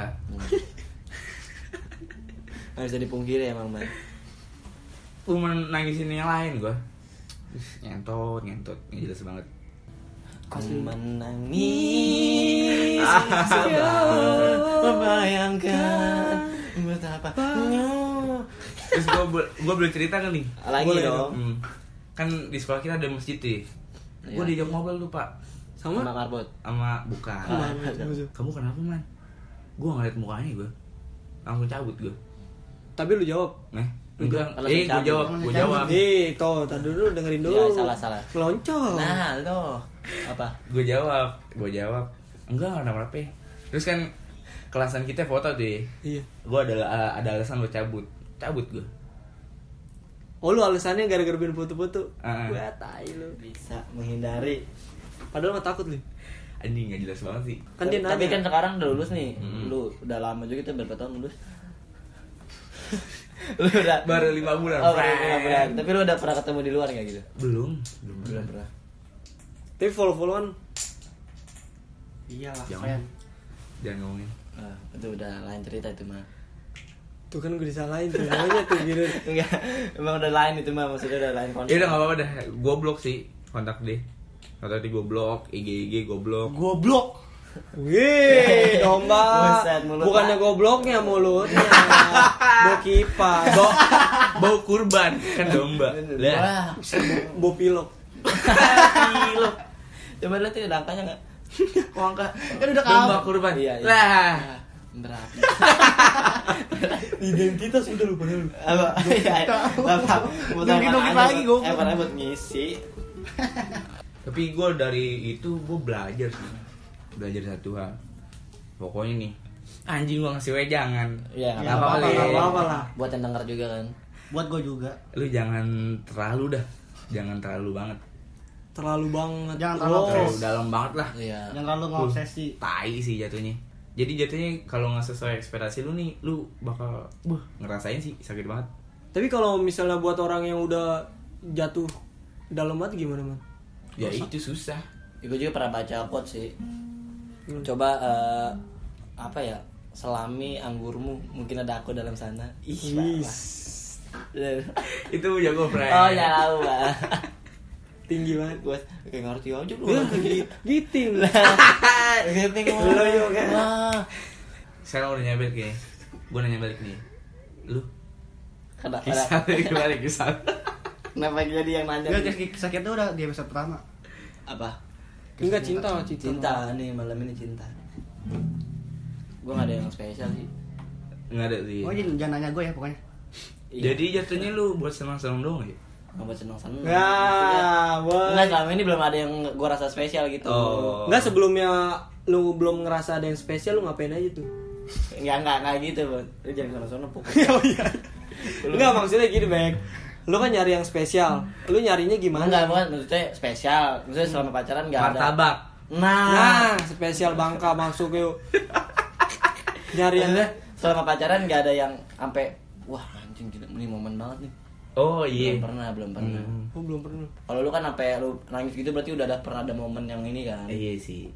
S5: Nggak bisa dipungkiri emang, Bang.
S4: Gue nangisin yang lain gue. Nyentot, nyentot, Nggak jelas banget.
S5: Kau menangis jauh Ah, membayangkan betapa
S4: Terus gue gue boleh cerita kan nih.
S5: lagi
S3: Boleh
S5: dong
S4: Hmm. Kan di sekolah kita ada masjid tuh. Gue
S5: Iya.
S4: diajak ngobrol tuh pak
S3: Sama?
S5: sama karbot
S4: sama bukan. Kamu kenapa man? Gue ngeliat mukanya gue. Langsung cabut gue.
S3: Tapi lu jawab.
S4: Nah, enggak.
S5: Kalau
S4: Eh, gue
S5: cabut.
S4: jawab, gue jawab.
S3: Nih, toh, tadi dulu dengerin dulu.
S5: Iya, salah, salah.
S3: Meloncong.
S5: nah lo apa
S4: gue jawab gue jawab enggak enggak kenapa ya terus kan kelasan kita foto tuh
S3: Iya.
S4: gue ada ada alasan lo cabut cabut gue
S3: Oh lu alasannya gara-gara bikin foto-foto.
S4: Ah.
S3: Gua tai lu.
S5: bisa menghindari
S3: Padahal mah takut lu.
S4: anjing nggak jelas banget sih
S6: kan dia
S5: tapi
S6: nanya
S5: kan sekarang udah lulus nih
S4: Hmm.
S5: lu udah lama juga kita berapa tahun lulus lu udah
S4: Baru lima bulan,
S5: oh, baru lima
S4: friend.
S5: bulan. tapi lu udah pernah ketemu di luar nggak gitu
S4: belum belum
S5: belum pernah
S6: tapi follow followan
S3: Iyalah,
S4: Jangan.
S3: friend.
S4: jangan ngomongin
S5: Ah, itu udah lain cerita itu mah
S6: tuh kan gue disalahin tuh namanya tuh gitu
S5: enggak emang udah lain itu mah maksudnya udah lain konsep
S4: ya udah nggak apa-apa dah gue blok sih kontak deh kontak di gue blok IG IG gue blok
S3: Goblok.
S6: Wih, domba.
S5: Buset, mulut,
S6: Bukannya
S5: Pak.
S6: gobloknya mulutnya. Bo kipas, bo,
S4: bau kurban kan domba lah
S5: iya, Wah,
S6: bo pilok.
S5: gila. Coba lihat ini angkanya enggak? Kok angka?
S3: Kan udah
S4: domba
S3: kalah.
S4: kurban
S5: Iya, iya.
S4: lah
S5: Berat. Identitas udah lupa dulu. Apa? Iya. Apa? Buat
S3: Joget-joget
S5: apaan
S3: lagi,
S5: aja,
S3: goblok.
S5: Eh, padahal buat ngisi.
S4: tapi gue dari itu gue belajar sih belajar satu hal pokoknya nih anjing gue ngasih wejangan
S5: Iya,
S4: Nggak
S5: nggak apa-apa,
S4: apa-apa,
S6: nggak
S4: Lin.
S6: apa-apa lah.
S5: Buat yang denger juga kan.
S3: Buat gue juga.
S4: lu jangan terlalu dah jangan terlalu banget
S6: Terlalu banget.
S3: Jangan terlalu
S6: Oh,
S4: terlalu
S3: Yes.
S4: dalam banget lah
S5: Iya.
S3: Jangan terlalu ngobsesi.
S4: tai sih jatuhnya jadi jatuhnya kalau nggak sesuai ekspektasi lu nih lu bakal buh, ngerasain sih sakit banget
S6: Tapi kalau misalnya buat orang yang udah jatuh dalam banget gimana, Man?
S4: ya itu susah
S5: Ya, Gue juga pernah baca quote sih. Coba eh, apa ya? Selami anggurmu, mungkin ada aku dalam sana. Ih, parah.
S4: itu jago friend
S5: Oh ya tahu pak.
S6: Tinggi banget.
S5: Gue kayak ngerti aja lu.
S6: Wah, Giting.
S5: Ngerti kan?
S6: Lu juga.
S5: Wah.
S4: sekarang udah nyabel kayaknya gue nanya balik nih lu
S5: Kenapa?
S4: kisah dari kemarin kisah
S5: Kenapa jadi yang nanya?
S3: Enggak, sakitnya udah di episode pertama.
S5: Apa?
S6: Enggak cinta, cinta.
S5: Cinta nih malam ini cinta. Gue gak ada yang spesial sih.
S4: nggak ada sih
S5: iya.
S3: Oh, jadi jangan nanya gue ya pokoknya.
S4: jadi jatuhnya lu buat senang-senang doang ya
S5: nggak buat seneng
S6: Nah.
S5: seneng.
S6: Ya,
S5: Enggak
S6: wah.
S5: selama ini belum ada yang gue rasa spesial gitu.
S4: Oh.
S6: Enggak sebelumnya lu belum ngerasa ada yang spesial lu ngapain aja tuh?
S5: Enggak enggak enggak gitu bro. Lu jangan kesana sana pokok.
S6: Enggak maksudnya gini, Bang. Lu kan nyari yang spesial. Lu nyarinya gimana?
S5: Enggak bukan maksudnya spesial. Maksudnya selama pacaran enggak ada.
S4: martabak
S5: Nah.
S6: Nah, spesial bangka masuk yuk. Nyari yang
S5: Maksudnya selama pacaran nggak ada yang sampai wah anjing gila ini momen banget nih
S4: oh iya
S5: belum pernah belum pernah
S4: Hmm.
S6: Oh, belum pernah.
S5: kalau lu kan sampai lu nangis gitu berarti udah ada pernah ada momen yang ini kan
S4: Eh, iya sih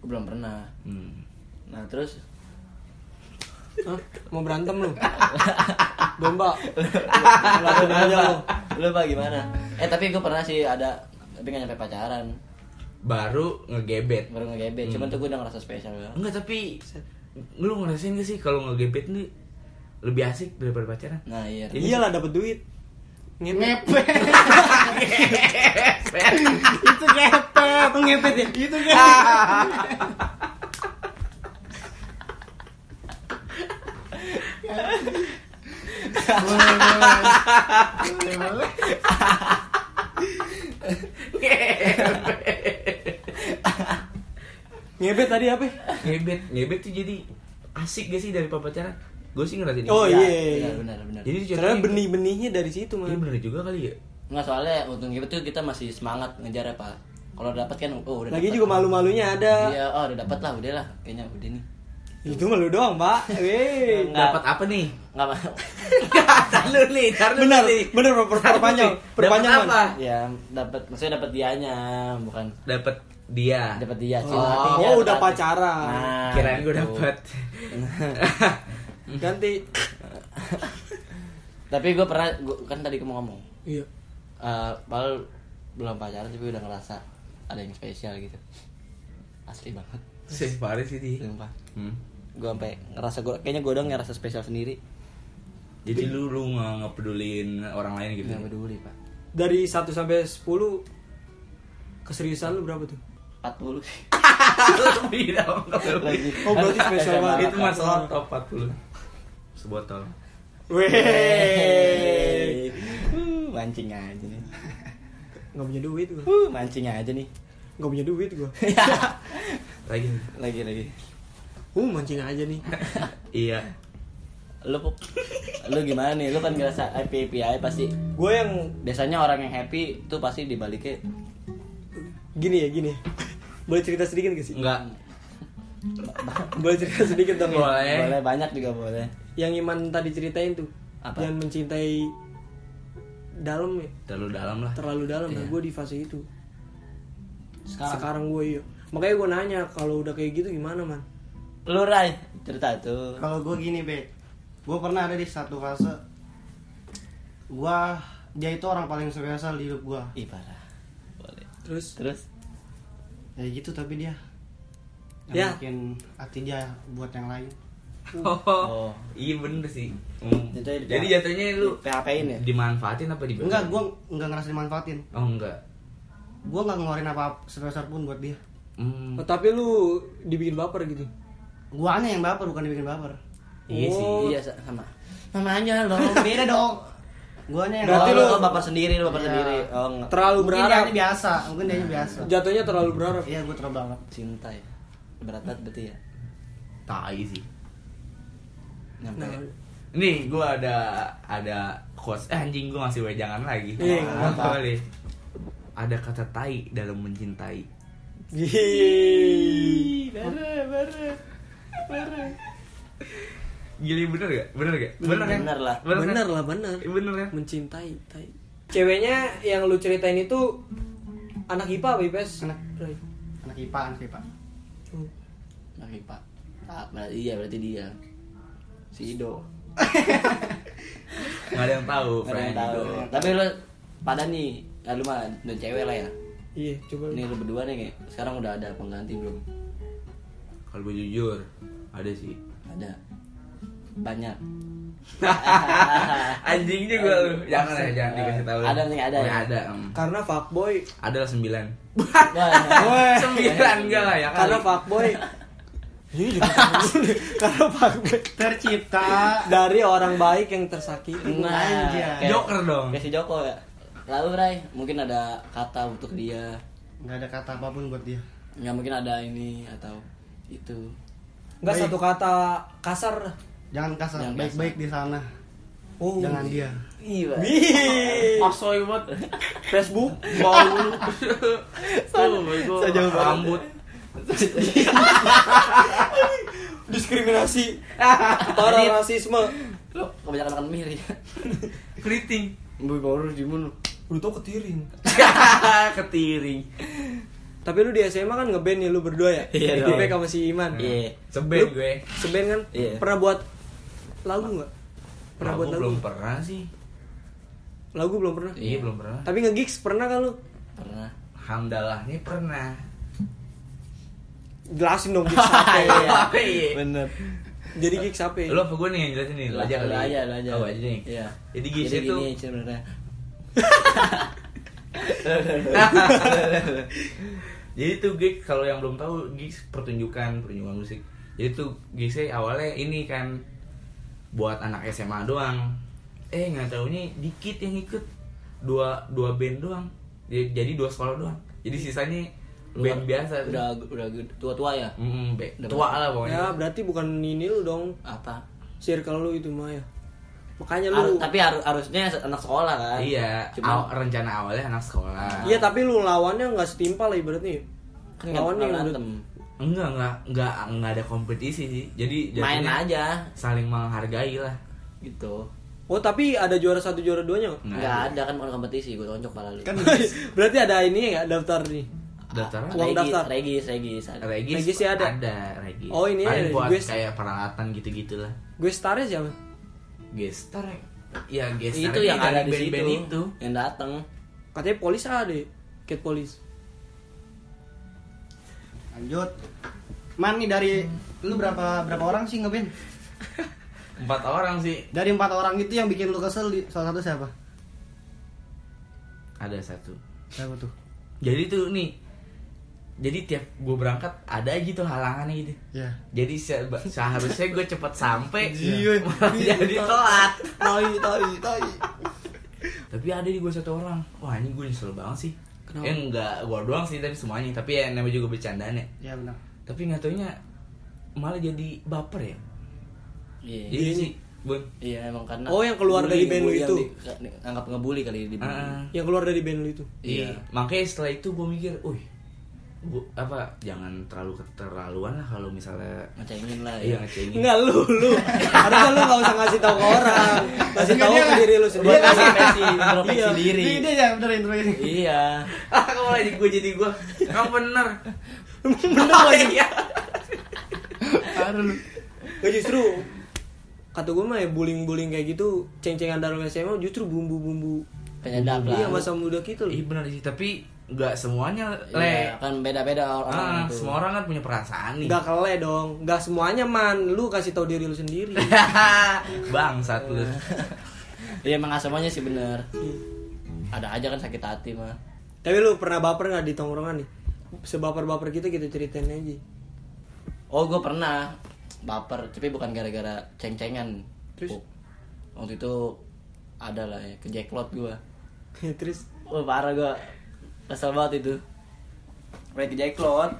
S5: Gua belum pernah
S4: Hmm.
S5: nah terus
S6: Hah? Mau berantem lu? Domba.
S5: lu
S6: Lalu aja lu.
S5: lu apa gimana eh tapi gue pernah sih ada tapi nggak nyampe pacaran
S4: baru ngegebet
S5: baru ngegebet cuman tuh gue udah ngerasa spesial banget
S4: Enggak tapi lu ngerasain gak sih kalau ngegebet nih lebih asik daripada pacaran?
S5: nah iya
S6: Iyalah dapat duit. Ngepet.
S3: Ngepet. Itu ngepet, ngepet ya. Itu
S4: Gitu kan?
S3: ngepet.
S6: Ah, Ngepet tadi apa?
S4: Ngebet, ngebet tuh jadi asik gak sih daripada pacaran? Gue sih ngerasain.
S6: Oh
S4: itu.
S5: benar
S6: iya.
S5: benar benar
S4: Jadi
S6: Karena benih-benihnya dari situ,
S4: Ini
S6: Man.
S4: bener juga kali ya.
S5: nggak soalnya untung gitu tuh kita masih semangat ngejar ya pak kalau dapat kan oh udah
S6: Lagi
S5: dapet.
S6: juga malu-malunya ada.
S5: iya oh udah dapat lah udah lah kayaknya udah nih
S6: Itu malu doang, Pak. Weh.
S5: Enggak.
S4: Dapat apa nih?
S5: nggak mau
S4: Tar lu nih, tar lu
S6: Benar,
S4: nih.
S6: benar per-
S4: Tar lu
S6: perpanjang,
S4: nih. Dapat
S6: perpanjang
S4: apa?
S6: man.
S5: ya dapat maksudnya dapat dianya bukan
S4: Dapat dia.
S5: dapat dia
S6: Oh,
S5: cinta hatinya,
S6: oh, udah
S5: dapat hati.
S6: pacaran.
S4: Kirain gue
S5: gitu.
S4: dapat.
S6: Ganti.
S5: tapi gue pernah gua, kan tadi gue mau ngomong
S6: Iya.
S5: Eh, padahal belum pacaran tapi udah ngerasa ada yang spesial gitu asli banget
S4: Sih, parah sih di.
S5: sumpah
S4: Hmm.
S5: gue sampai ngerasa gue kayaknya gue doang yang ngerasa spesial sendiri
S4: Jadi lu lu nggak ngepedulin orang lain gitu.
S5: nggak peduli pak
S6: Dari 1 sampai 10 keseriusan lu berapa tuh?
S5: 40 sih
S4: Lebih dong.
S5: lagi
S6: Oh, berarti spesial
S5: Ada
S6: banget.
S4: Itu mas
S6: Apa?
S4: top 40. Sebotol.
S6: Weh.
S5: Hey. Uh, mancing aja nih
S6: Nggak punya duit gua.
S5: uh, mancing aja nih
S6: Nggak punya duit gua.
S4: Lagi.
S5: lagi lagi
S6: Uh, mancing aja nih.
S4: Iya.
S5: lu Pup. lu gimana nih lu kan ngerasa happy happy aja pasti
S6: gue yang
S5: biasanya orang yang happy tuh pasti dibaliknya
S6: gini ya, gini.
S3: Boleh cerita sedikit gak sih?
S4: Enggak.
S3: Boleh cerita sedikit dong ya?
S4: Boleh.
S5: Iya, boleh banyak juga boleh
S3: Yang Iman tadi ceritain tuh
S5: Apa?
S3: Yang mencintai dalam ya
S4: Terlalu dalam lah.
S3: terlalu dalam
S4: Iya.
S3: nah gue di fase itu
S5: sekarang,
S3: sekarang gue iya makanya gue nanya kalau udah kayak gitu gimana man
S5: lu Rai cerita tuh
S6: Kalau gue gini be, gue pernah ada di satu fase, gue dia itu orang paling spesial di hidup gue.
S5: ih parah boleh
S3: terus
S5: terus
S6: Ya gitu tapi dia
S3: Ya.
S6: yang bikin hati dia buat yang lain.
S4: Oh, iya bener sih. Hmm.
S5: Jadi-
S4: Jadi jatuhnya lu
S5: PHP ini
S4: dimanfaatin apa di
S6: Enggak, gue nggak ngerasa dimanfaatin.
S4: Oh enggak.
S6: Gue nggak ngeluarin apa sebesar pun buat dia.
S4: Hmm.
S3: Oh, tapi lu dibikin baper gitu
S6: Guanya yang baper bukan dibikin baper.
S4: Iya sih.
S3: Oh,
S5: iya sa- sama namanya dong beda dong
S6: Guanya yang
S3: Berarti
S5: berarti
S3: lu-
S5: lu bapak sendiri lu bapak
S6: Iya.
S5: sendiri oh enggak.
S3: terlalu
S6: mungkin ya.
S3: berharap
S6: dia biasa, mungkin dia biasa.
S3: jatuhnya terlalu berharap
S6: Iya, gue terlalu banget.
S5: cinta ya berat banget berarti ya
S4: Tai sih.
S5: nyampe ya?
S3: nah
S4: Nih, gua ada ada quotes eh, anjing gua ngasih wejangan lagi.
S3: Iya,
S4: Apa kali? Ada kata tai dalam mencintai.
S3: Gih.
S4: Gili bener gak? Bener gak? Bener, kan?
S5: Hmm, Bener lah.
S4: Bener, kan?
S3: bener lah bener
S4: Iya, Bener kan?
S3: mencintai tai. ceweknya yang lu ceritain itu anak IPA apa IPS
S6: Anak.
S3: Ray?
S6: Anak IPA, anak IPA.
S3: Oh.
S5: lagi pak Ah, berarti iya berarti dia si Ido
S4: Gak ada yang tahu,
S5: Nggak ada yang
S4: friend.
S5: tahu tapi lu pada nih ya lu mah udah cewek lah ya
S3: iya coba
S5: ini lu berdua nih kayak sekarang udah ada pengganti belum
S4: Kalau gue jujur, ada sih.
S5: ada banyak
S4: Anjing juga lu. Jangan lah, jangan dikasih tahu.
S5: Ah. Ada nih, ada.
S4: Oh, ya, ada. em.
S3: karena fuckboy
S4: Ada lah sembilan.
S5: Wah,
S4: sembilan
S5: iya.
S4: enggak lah ya kali.
S3: karena fuckboy ini juga karena fuckboy
S6: Tercipta.
S3: dari orang baik yang tersakiti
S5: Nah,
S6: Anjay.
S5: kayak-
S4: Joker dong.
S5: Kayak si Joko ya. Lalu Rai, mungkin ada kata untuk dia.
S6: Nggak ada kata apapun buat dia.
S5: Nggak mungkin ada ini atau itu.
S3: nggak
S6: Baik.
S3: satu kata kasar
S6: Jangan kasar,
S5: Jangan kasar.
S6: baik-baik di sana.
S3: oh
S6: Jangan dia.
S5: Iya.
S3: Wih.
S4: Asoy banget.
S3: Facebook
S4: Bau. Oh my god.
S5: Sejauh banget.
S4: Rambut.
S3: diskriminasi para rasisme
S5: Lo kebanyakan makan mie ya.
S4: Keriting.
S5: Boy baru dibunuh.
S3: lu tau ketirin
S4: Ketiring.
S3: tapi lu di SMA kan ngeband ya lu berdua ya
S5: Iya
S3: Di
S5: dong.
S3: Bek sama si Iman
S5: Iya.
S3: Lu-
S4: Sebel gue.
S3: seband kan
S5: Iya.
S3: pernah buat lagu nggak pernah
S4: Nah,
S3: buat
S4: gue
S3: lagu
S4: belum pernah sih.
S3: lagu belum pernah
S4: Iya, belum pernah.
S3: tapi nge-gigs pernah kan lu
S5: Pernah.
S4: Alhamdulillah nih pernah.
S3: jelasin dong gigs apa ya?
S5: Iya.
S4: Iya.
S5: Bener.
S3: jadi gigs apa ya?
S4: Lu apa gue nih yang jelasin nih? Lu aja kali.
S5: Lo aja, lo aja.
S4: Oh, aja nih.
S5: Iya.
S4: Jadi gigs itu
S5: gini sebenarnya.
S4: Jadi tuh gigs kalau yang belum tahu gigs pertunjukan pertunjukan musik. Jadi tuh gigsnya awalnya ini kan buat anak SMA doang. Eh nggak taunya dikit yang ikut dua dua band doang. Jadi, jadi dua sekolah doang. Jadi sisanya band biasa. tuh.
S5: Udah udah tua-tua ya.
S4: Mm, be-
S5: Udah
S4: tua
S5: berapa?
S4: lah
S3: ya
S4: pokoknya.
S3: berarti bukan ini lu dong
S5: Apa?
S3: circle lu itu mah ya makanya
S5: Har-
S3: lu
S5: Ah, tapi har- harusnya anak sekolah kan.
S4: Iya.
S5: Cuma
S4: aw- rencana awalnya anak sekolah.
S3: Iya tapi lu lawannya nggak setimpal lah ibaratnya. ya?
S5: kan nggak
S3: lawannya
S5: pernah
S3: yang udah
S5: berantem.
S4: Enggak enggak enggak enggak ada kompetisi sih. Jadi
S5: Main
S4: jatuhnya
S5: aja
S4: Saling menghargai lah.
S5: gitu.
S3: Oh tapi ada juara satu juara duanya nggak?
S5: Nggak ada kan bukan kompetisi, gue tonjok pala
S3: Kan
S5: lu.
S3: Berarti ada ini ya daftar nih.
S5: Ah,
S4: Daftaran
S3: Uang
S5: Regis,
S3: daftar.
S5: Regis, Regis. ada.
S4: Regis,
S3: Regis sih ada.
S4: Ada Regis.
S3: Oh, ini
S4: Paling
S3: ada,
S4: buat
S3: gue-
S4: kayak peralatan gitu-gitu lah.
S3: Gue starnya siapa?
S4: Gestar. Ya gestar.
S5: Itu
S4: ini
S5: yang ada
S4: dari
S5: di situ,
S4: band-band itu.
S5: yang datang.
S3: Katanya polis ada. ya? Cat polis.
S6: Lanjut. Man nih dari lu berapa berapa orang sih ngeband?
S4: Empat orang sih.
S6: Dari empat orang itu yang bikin lu kesel di- salah satu siapa?
S4: Ada satu.
S6: Siapa tuh?
S4: Jadi tuh nih. Jadi tiap gue berangkat ada aja tuh halangannya gitu.
S6: Ya.
S4: Jadi se- seharusnya gue cepet sampai.
S6: Iya.
S4: malah jadi telat.
S6: Tai tai tai.
S4: Tapi ada di gue satu orang. Wah ini gue nyesel banget sih. Kenapa? Ya enggak gue doang sih tapi semuanya. Tapi ya namanya juga bercandaan ya.
S6: Ya benar.
S4: Tapi nggak taunya malah jadi baper ya.
S5: Iya.
S4: Jadi sih, Bun.
S5: Iya, emang karena
S3: Oh, yang keluar dari band lu
S5: ngebully
S3: itu.
S5: yang di- anggap ngebully kali di
S4: Ah,
S5: band.
S3: Yang keluar dari band lu itu.
S4: iya.
S5: Iya.
S4: Makanya setelah itu gue mikir, "Uy, bu apa jangan terlalu keterlaluan lah kalau misalnya
S5: ngecengin lah
S4: iya
S5: ya
S4: ngecengin
S3: Enggak lu, lu. Harusnya lu enggak usah ngasih tahu ke orang. Kasih tahu ke diri lu sendiri.
S5: Buat introspeksi, introspeksi
S3: Iya.
S5: diri.
S9: Ini dia ya bener introspeksi.
S5: Iya.
S4: ah kamu lagi gue jadi gue kamu bener
S3: Bener lagi. Gue justru kata gue mah ya bullying-bullying kayak gitu, ceng-cengan dalam SMA justru bumbu-bumbu
S5: Penyedap lah.
S3: Iya masa muda gitu
S4: iya
S3: loh.
S4: bener sih tapi nggak semuanya
S5: Iya,
S4: le
S5: kan beda-beda orang gitu.
S4: ah,
S5: itu.
S4: semua orang kan punya perasaan nih
S3: Gak kele dong, gak semuanya man, lu kasih tahu diri lu sendiri.
S4: bangsat lu
S5: Iya emang nggak semuanya sih bener.
S3: Hmm.
S5: Ada aja kan sakit hati mah.
S3: Tapi lu pernah baper nggak di tongkrongan nih? Sebaper-baper kita kita ceritain aja.
S5: Oh gue pernah baper, tapi bukan gara-gara ceng-cengan.
S3: Terus?
S5: Oh, waktu itu ada lah ya, ke jackpot gue.
S3: Terus
S5: Wah parah gue Kesel banget itu Kayak ke Jacklot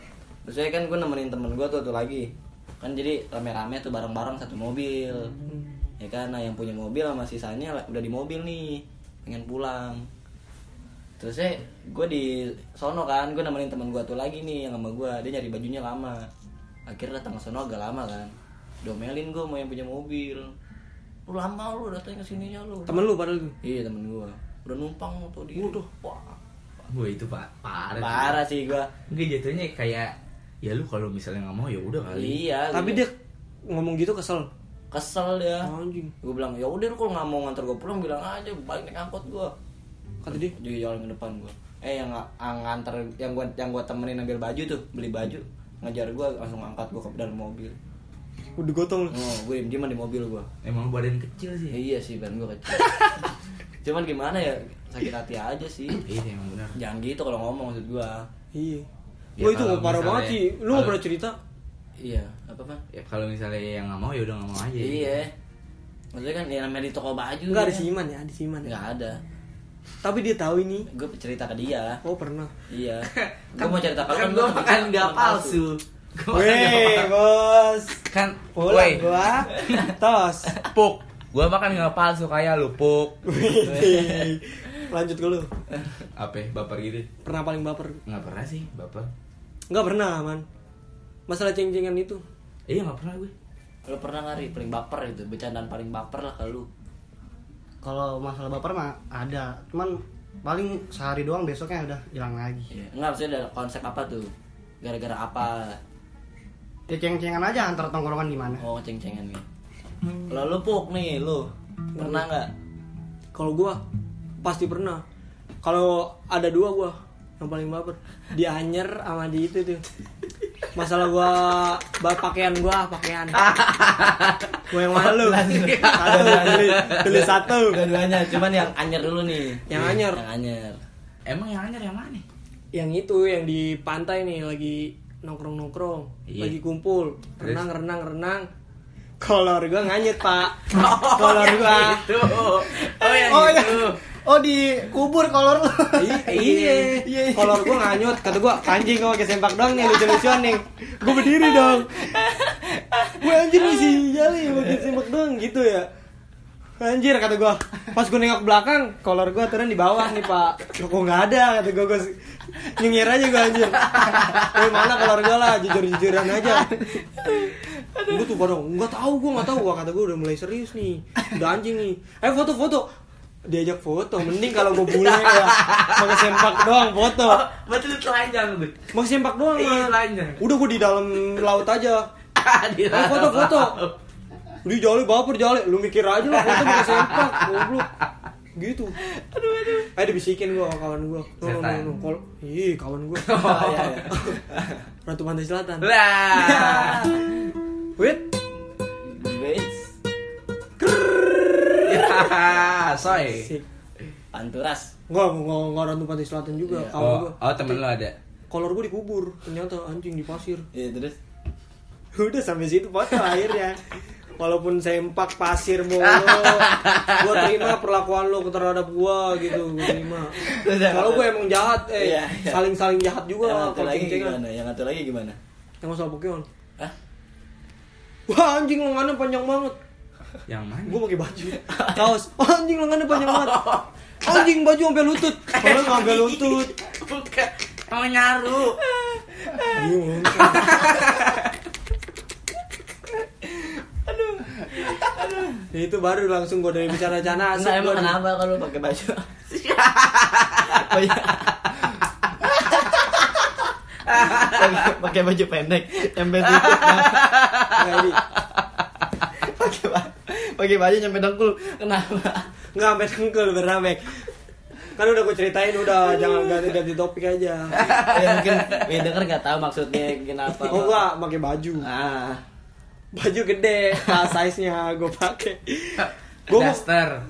S5: Terus saya kan gue nemenin temen gue tuh, tuh lagi Kan jadi rame-rame tuh bareng-bareng satu mobil Ya kan, nah yang punya mobil sama sisanya lah- udah di mobil nih Pengen pulang Terus saya, gue di sono kan, gue nemenin temen gue tuh lagi nih yang sama gue Dia nyari bajunya lama Akhirnya datang ke sono agak lama kan Domelin gue mau yang punya mobil Lu lama lu datang ke sininya lu
S3: temen lu padahal tuh.
S5: Iya temen gua Udah numpang tuh dia Wah
S4: gue itu pak parah sih.
S5: Parah sih gua
S4: Enggak jatuhnya kayak ya lu kalau misalnya nggak mau ya udah kali.
S5: Iya
S3: Tapi
S5: gua
S3: dia ngomong gitu kesel.
S5: Kesel dia
S3: Anjing.
S5: Gua bilang ya udah lu kalau nggak mau nganter gua pulang bilang aja Balik naik angkot gua
S3: Kata dia,
S5: Jadi jalan ke depan gua Eh yang nga- yang nganter Yang gua, yang gua temenin ambil baju tuh Beli baju Ngejar gua langsung angkat gua ke dalam mobil
S3: udah gotong lu.
S5: Oh gua diem-dieman di mobil gua
S4: Emang lu badan
S5: Ya,
S4: kecil sih.
S5: Iya sih ban gua kecil Cuman gimana ya Sakit hati aja sih
S4: Iya sih, emang benar.
S5: Jangan gitu kalau ngomong maksud gua
S3: Iya.
S4: Ya,
S3: Wah itu
S4: kalau
S3: gua parah
S4: misalnya-
S3: banget sih. Lu
S4: kalau-
S3: nggak pernah cerita?
S5: Iya apa man?
S4: Ya kalau misalnya yang nggak mau ya udah nggak mau aja.
S5: Iya. Maksudnya kan ya namanya di toko baju.
S3: Enggak ada
S4: Iya.
S5: ya.
S3: siman ya, ada siman ya.
S5: Nggak ada.
S3: Tapi dia tahu ini.
S5: Gue cerita ke dia.
S3: Oh pernah.
S5: Iya. gue mau cerita ke lu,
S4: kan
S5: lu
S4: gua
S5: temen
S4: makan
S5: gua,
S4: nggak
S5: temen
S4: palsu. Gua makan nggak
S3: Weh,
S4: palsu.
S3: bos.
S4: Kan
S3: Pulang
S4: weh,
S3: gua. Tos.
S4: Puk. Gua makan nggak palsu kayak lu puk.
S3: Wih. Lanjut ke lu.
S4: Apa ya, baper gitu?
S3: Pernah paling baper?
S4: Nggak pernah sih baper.
S3: Enggak pernah lah, Man. Masalah ceng-cengan itu.
S4: Iya nggak pernah gue.
S5: Lu pernah nggak Ri? paling baper itu? Bercandaan paling baper lah ke lu.
S6: Kalau masalah baper mah ada, cuman paling sehari doang besoknya udah hilang lagi.
S5: Iya. Enggak maksudnya ada konsep apa tuh? Gara-gara apa?
S6: Ya ceng-cengan aja antar tongkrongan gimana.
S5: Oh ceng-cengan nih. Kalau lu puk nih lu pernah nggak?
S3: Kalau gua pasti pernah. Kalau ada dua gua yang paling baper. Di anyer sama di itu tuh. Masalah gua ba- pakaian gua, pakaian. Gua yang mana lu? Satu, beli, beli satu.
S5: Dua-duanya, cuman yang anyer dulu nih.
S3: Yang anyer.
S5: Yang anyer.
S4: Emang yang anyar yang mana?
S3: yang itu yang di pantai nih lagi nongkrong nongkrong
S4: Iya.
S3: lagi kumpul
S4: Terus?
S3: renang renang renang kolor gua nganyet pak kolor gua
S4: Itu. Oh yang
S5: gitu.
S6: Oh,
S4: itu.
S6: iya. Oh dikubur kolor lu.
S3: I- iya kolor gua nganyut kata gua anjing gua pakai sempak doang nih lucu lucuan nih gua berdiri dong gua anjir isi jali pakai sempak doang gitu ya anjir kata gua pas gua nengok belakang kolor gua turun di bawah nih pak Loh, kok nggak ada kata gua gua nyengir aja gua anjir Eh mana kolor gua lah jujur jujuran aja Gue tuh baru nggak tahu gua nggak tahu gua kata gua udah mulai serius nih udah anjing nih eh foto foto diajak foto mending kalau gua bule ya pakai sempak doang foto
S4: Oh, Berarti lu telanjang gue.
S3: pakai sempak doang
S4: Iya,
S3: Man.
S4: telanjang.
S3: udah gua di dalam laut aja
S4: Di
S3: eh foto
S4: dalam
S3: foto
S4: laut.
S3: di jale baper jale lu mikir aja lah foto pakai sempak goblok gitu aduh aduh eh dibisikin gua sama kawan gua no no no,
S4: Setan. Oh,
S3: no. Kol- ih kawan gua
S5: iya, iya.
S3: ratu pantai selatan
S4: Lah.
S3: wait
S5: Wits.
S4: Ya, soy.
S3: Sik.
S5: Panturas.
S3: Nggak, nggak, nggak ratu pantai selatan juga
S5: Iya.
S3: kawan
S4: Oh,
S3: gua
S4: oh temen lu ada.
S3: kolor gue dikubur ternyata anjing di pasir
S5: Iya terus.
S3: udah sampai situ foto akhirnya walaupun sempak pasir mulu gue terima perlakuan lo terhadap gue gitu gue terima kalau gue emang jahat eh
S5: Iya, iya.
S3: saling saling jahat juga
S5: yang satu
S3: kalau
S5: lagi
S3: ceng-cengan
S5: gimana? Yang satu lagi gimana?
S3: yang masalah Pokemon
S5: Hah?
S3: wah anjing lengannya panjang banget
S4: Yang mana?
S3: gue pakai baju kaos Wah, anjing lengannya panjang banget anjing baju sampai lutut padahal nggak sampai lutut
S4: Bukan. Sama nyaru.
S3: Ya, itu baru langsung gue dari bicara
S4: Ah,
S3: cana asik
S5: Enggak emang
S3: gua.
S5: kenapa kalau pakai baju? Oh, iya. Pakai- pakai baju pendek nyampe dikit
S3: Enggak, ini.
S5: pakai ba- pakai baju nyampe dengkul kenapa
S3: Enggak sampai dengkul beramek. Kan udah gue ceritain udah jangan ganti-ganti topik aja.
S5: ya mungkin ya denger nggak tahu maksudnya kenapa
S3: Oh enggak, pakai baju.
S5: ah
S3: Baju gede, nah, size-nya gue pakai. Gue mau
S4: Duster.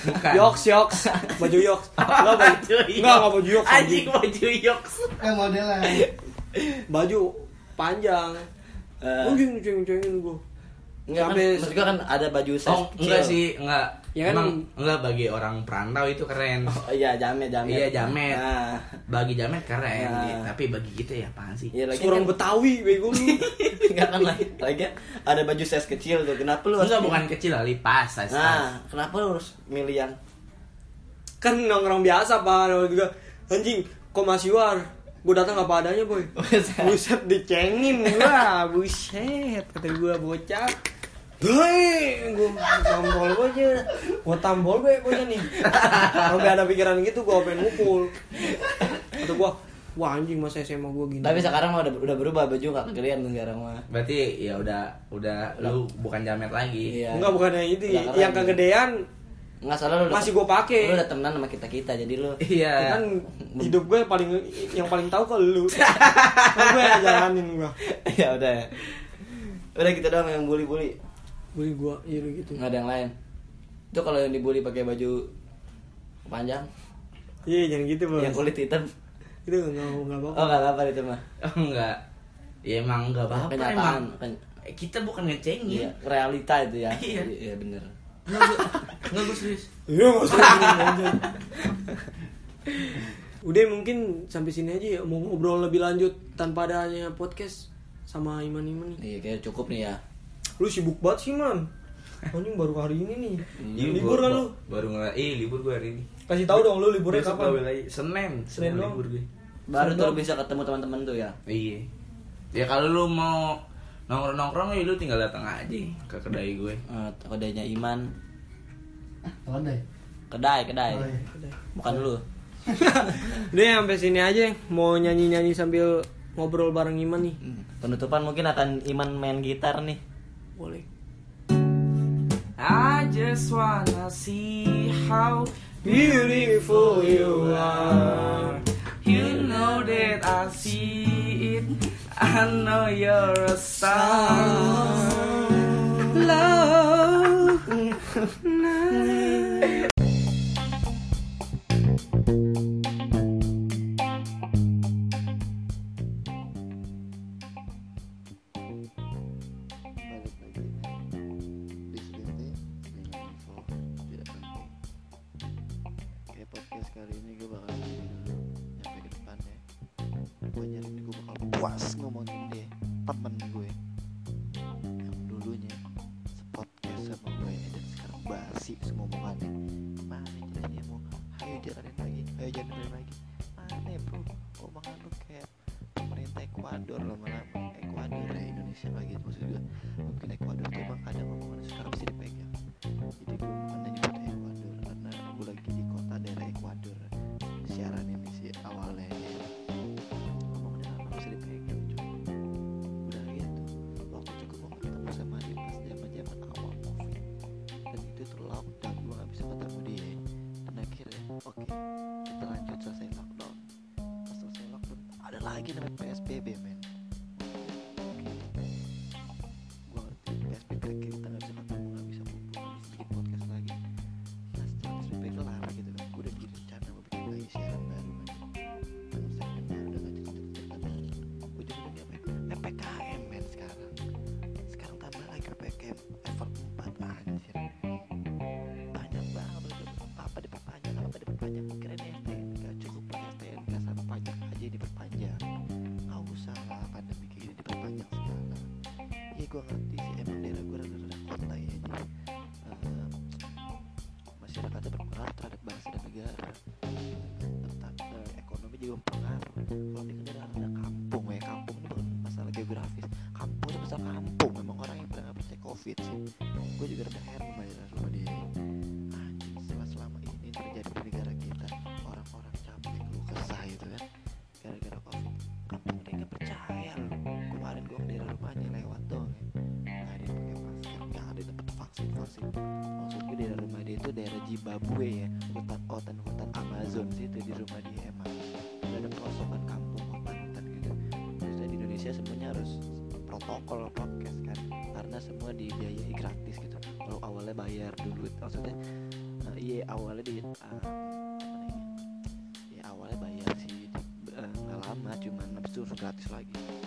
S4: Bukan.
S3: yoks yoks, baju yoks. Enggak baju.
S5: iya.
S3: Enggak enggak baju yoks.
S4: Anjing
S3: anjing.
S4: baju yoks.
S9: Kayak modelnya.
S3: Baju panjang.
S5: Eh.
S3: Anjing cengin-cengin gue.
S5: enggak kan,
S3: Sampai-
S5: maksud gua kan ada baju size
S4: Oh, enggak
S5: kecil.
S4: sih, enggak.
S3: Ya kan?
S4: Emang enggak bagi orang perantau itu keren.
S5: oh, iya jamet jamet
S4: Iya, jamet.
S5: ah
S4: Bagi jamet keren,
S5: Nah.
S4: iya. tapi bagi kita ya apaan sih?
S5: iya lagi
S3: Seorang
S5: kan-
S3: Betawi bego lu.
S5: Enggak kan lagi, lagi ada baju size kecil tuh. Kenapa lu harus
S4: Enggak bukan kecil lah, lipas size.
S5: Nah, kenapa lu harus milih yang
S3: kan nongkrong biasa pak nongkrong juga anjing kok masih war gue datang apa adanya boy
S5: Buset.
S3: buset dicengin gua buset kata gua bocah Hei, gue tambol gue aja, gue tambol gue aja ya, nih. Sampai ada pikiran gitu, gue pengen mukul. Atau gue, wah anjing masa SMA gue gini.
S5: Tapi sekarang mah udah, udah berubah baju nggak kegelian lu sekarang mah.
S4: Berarti ya udah udah lu bukan jamet lagi.
S5: Iya.
S3: enggak bukan yang itu,
S5: Udah keren.
S3: yang kegedean
S5: Enggak salah lu. udah-
S3: Masih gua pakai.
S5: Lu udah temenan sama kita-kita jadi lu.
S4: Iya.
S3: kan hidup gue paling yang paling tahu kok lu. Kan gue yang jalanin gue.
S5: ya udah. ya. Udah kita doang yang bully-bully.
S3: Bui gue, iya lu gitu.
S5: Enggak ada yang lain. Itu kalau yang dibully pakai baju panjang,
S3: Iya jangan gitu bos.
S5: yang kulit hitam.
S3: Itu nggak mau nggak apa-apa.
S5: Oh, enggak apa-apa itu mah.
S4: Oh, enggak. Ya emang enggak apa-apa
S5: Kenyataan.
S4: emang.
S5: Ken-
S4: Eh, Kita bukan
S5: Iya,
S4: ngecengin.
S5: realita itu ya.
S4: Iya.
S5: Iya, bener.
S4: Enggak, gua- enggak gue serius.
S3: Iya nggak usah. Anjay. Udah mungkin sampai sini aja ya. Mau ngobrol lebih lanjut tanpa adanya podcast sama Iman Iman nih.
S5: Iya, kayak cukup nih ya.
S3: Lu sibuk banget sih man. Anjing baru hari ini nih.
S4: Iya,
S3: libur
S4: gua-
S3: kan lu?
S4: Baru ngeliat, eh libur gue hari ini.
S3: Kasih tahu dong lu liburnya
S4: Besok
S3: kapan?
S4: gua lagi. Senin,
S3: Senin
S4: Senin
S3: doang?
S4: libur gue.
S5: Baru tuh lu bisa ketemu teman-teman tuh ya.
S4: Iya. Ya kalau lu mau nongkrong-nongkrong ya lu tinggal datang aja ke kedai gue.
S5: Eh, Kedainya Iman.
S9: Apaan deh?
S5: Kedai, kedai.
S9: Oh, iya.
S5: Bukan lu.
S3: Udah ya, sampai sini aja. Mau nyanyi nyanyi sambil ngobrol bareng Iman nih.
S5: Hmm. Penutupan mungkin akan Iman main gitar nih.
S3: Boleh.
S4: I just wanna see how
S3: Beautiful you are.
S4: uh, you know that I see it. I know you're a star.
S10: balik lagi diselinting dengan info tidak penting Oke podcast kali ini gue bakal ngomongin dulu nyampe ke depan ya gue nyari gue bakal puas ngomongin deh temen gue yang dulunya sepodcast sama gue ini dan sekarang basi semua omongannya mana jadinya mau ayo jalanin lagi ayo jalanin lagi mana ya, bro omongan lu kayak pemerintah Ekuador lama-lama Ekuador ya Indonesia nggak gitu maksud gue mungkin Ekuador tuh emang kadang omongan suka harus dipegang jadi gue bukan nyebut Ekuador karena gue lagi di kota daerah Ekuador siaran ini sih awalnya ya. omongannya lama bisa dipegang cuy udah gitu waktu itu gue mau ketemu sama dia pas zaman zaman awal covid dan itu tuh lockdown gue gak bisa ketemu dia dan akhirnya oke kita lanjut selesai lockdown pas selesai lockdown ada lagi namanya PSBB men gue ngerti PSBB akhirnya kita nggak bisa ketemu nggak bisa kumpul nggak bisa bikin podcast lagi nah setelah PSBB kelar gitu kan gue udah bikin rencana mau bikin lagi siaran baru kan kan segmen baru dengan cerita-cerita dan ujung-ujungnya apa ya? PPKM men sekarang sekarang tambah lagi PPKM level 4 anjir banyak banget udah apa diperpanjang apa diperpanjang keren ya STNK cukup ya, pakai STNK sama pajak aja diperpanjang nggak usah lah pandemi kayak gini diperpanjang segala iya gue ngerti sih emang daerah gue rada-rada kota ya jadi eh, masyarakatnya berpengaruh terhadap bangsa dan negara tentang eh, ekonomi juga mempengaruhi kalau di daerah-daerah kampung hidup gue juga rada heran sama diri sama dia anjing setelah selama ini terjadi di negara kita orang-orang capek lu kesah gitu kan gara-gara covid kampung dia nggak percaya lu kemarin gue dari rumahnya lewat dong ya. nggak ada yang pakai masker nggak ada tempat vaksin vaksin maksud gue daerah rumah dia itu daerah Zimbabwe ya hutan hutan hutan Amazon situ di rumah dia emang Udah ada perosokan kampung hutan hutan gitu terus dari Indonesia semuanya harus protokol podcast kan karena semua dibiayai gratis gitu kalau awalnya bayar dulu maksudnya eh, iya awalnya di eh, apa namanya? ya awalnya bayar sih eh, nggak lama cuman habis itu langsung gratis lagi ya.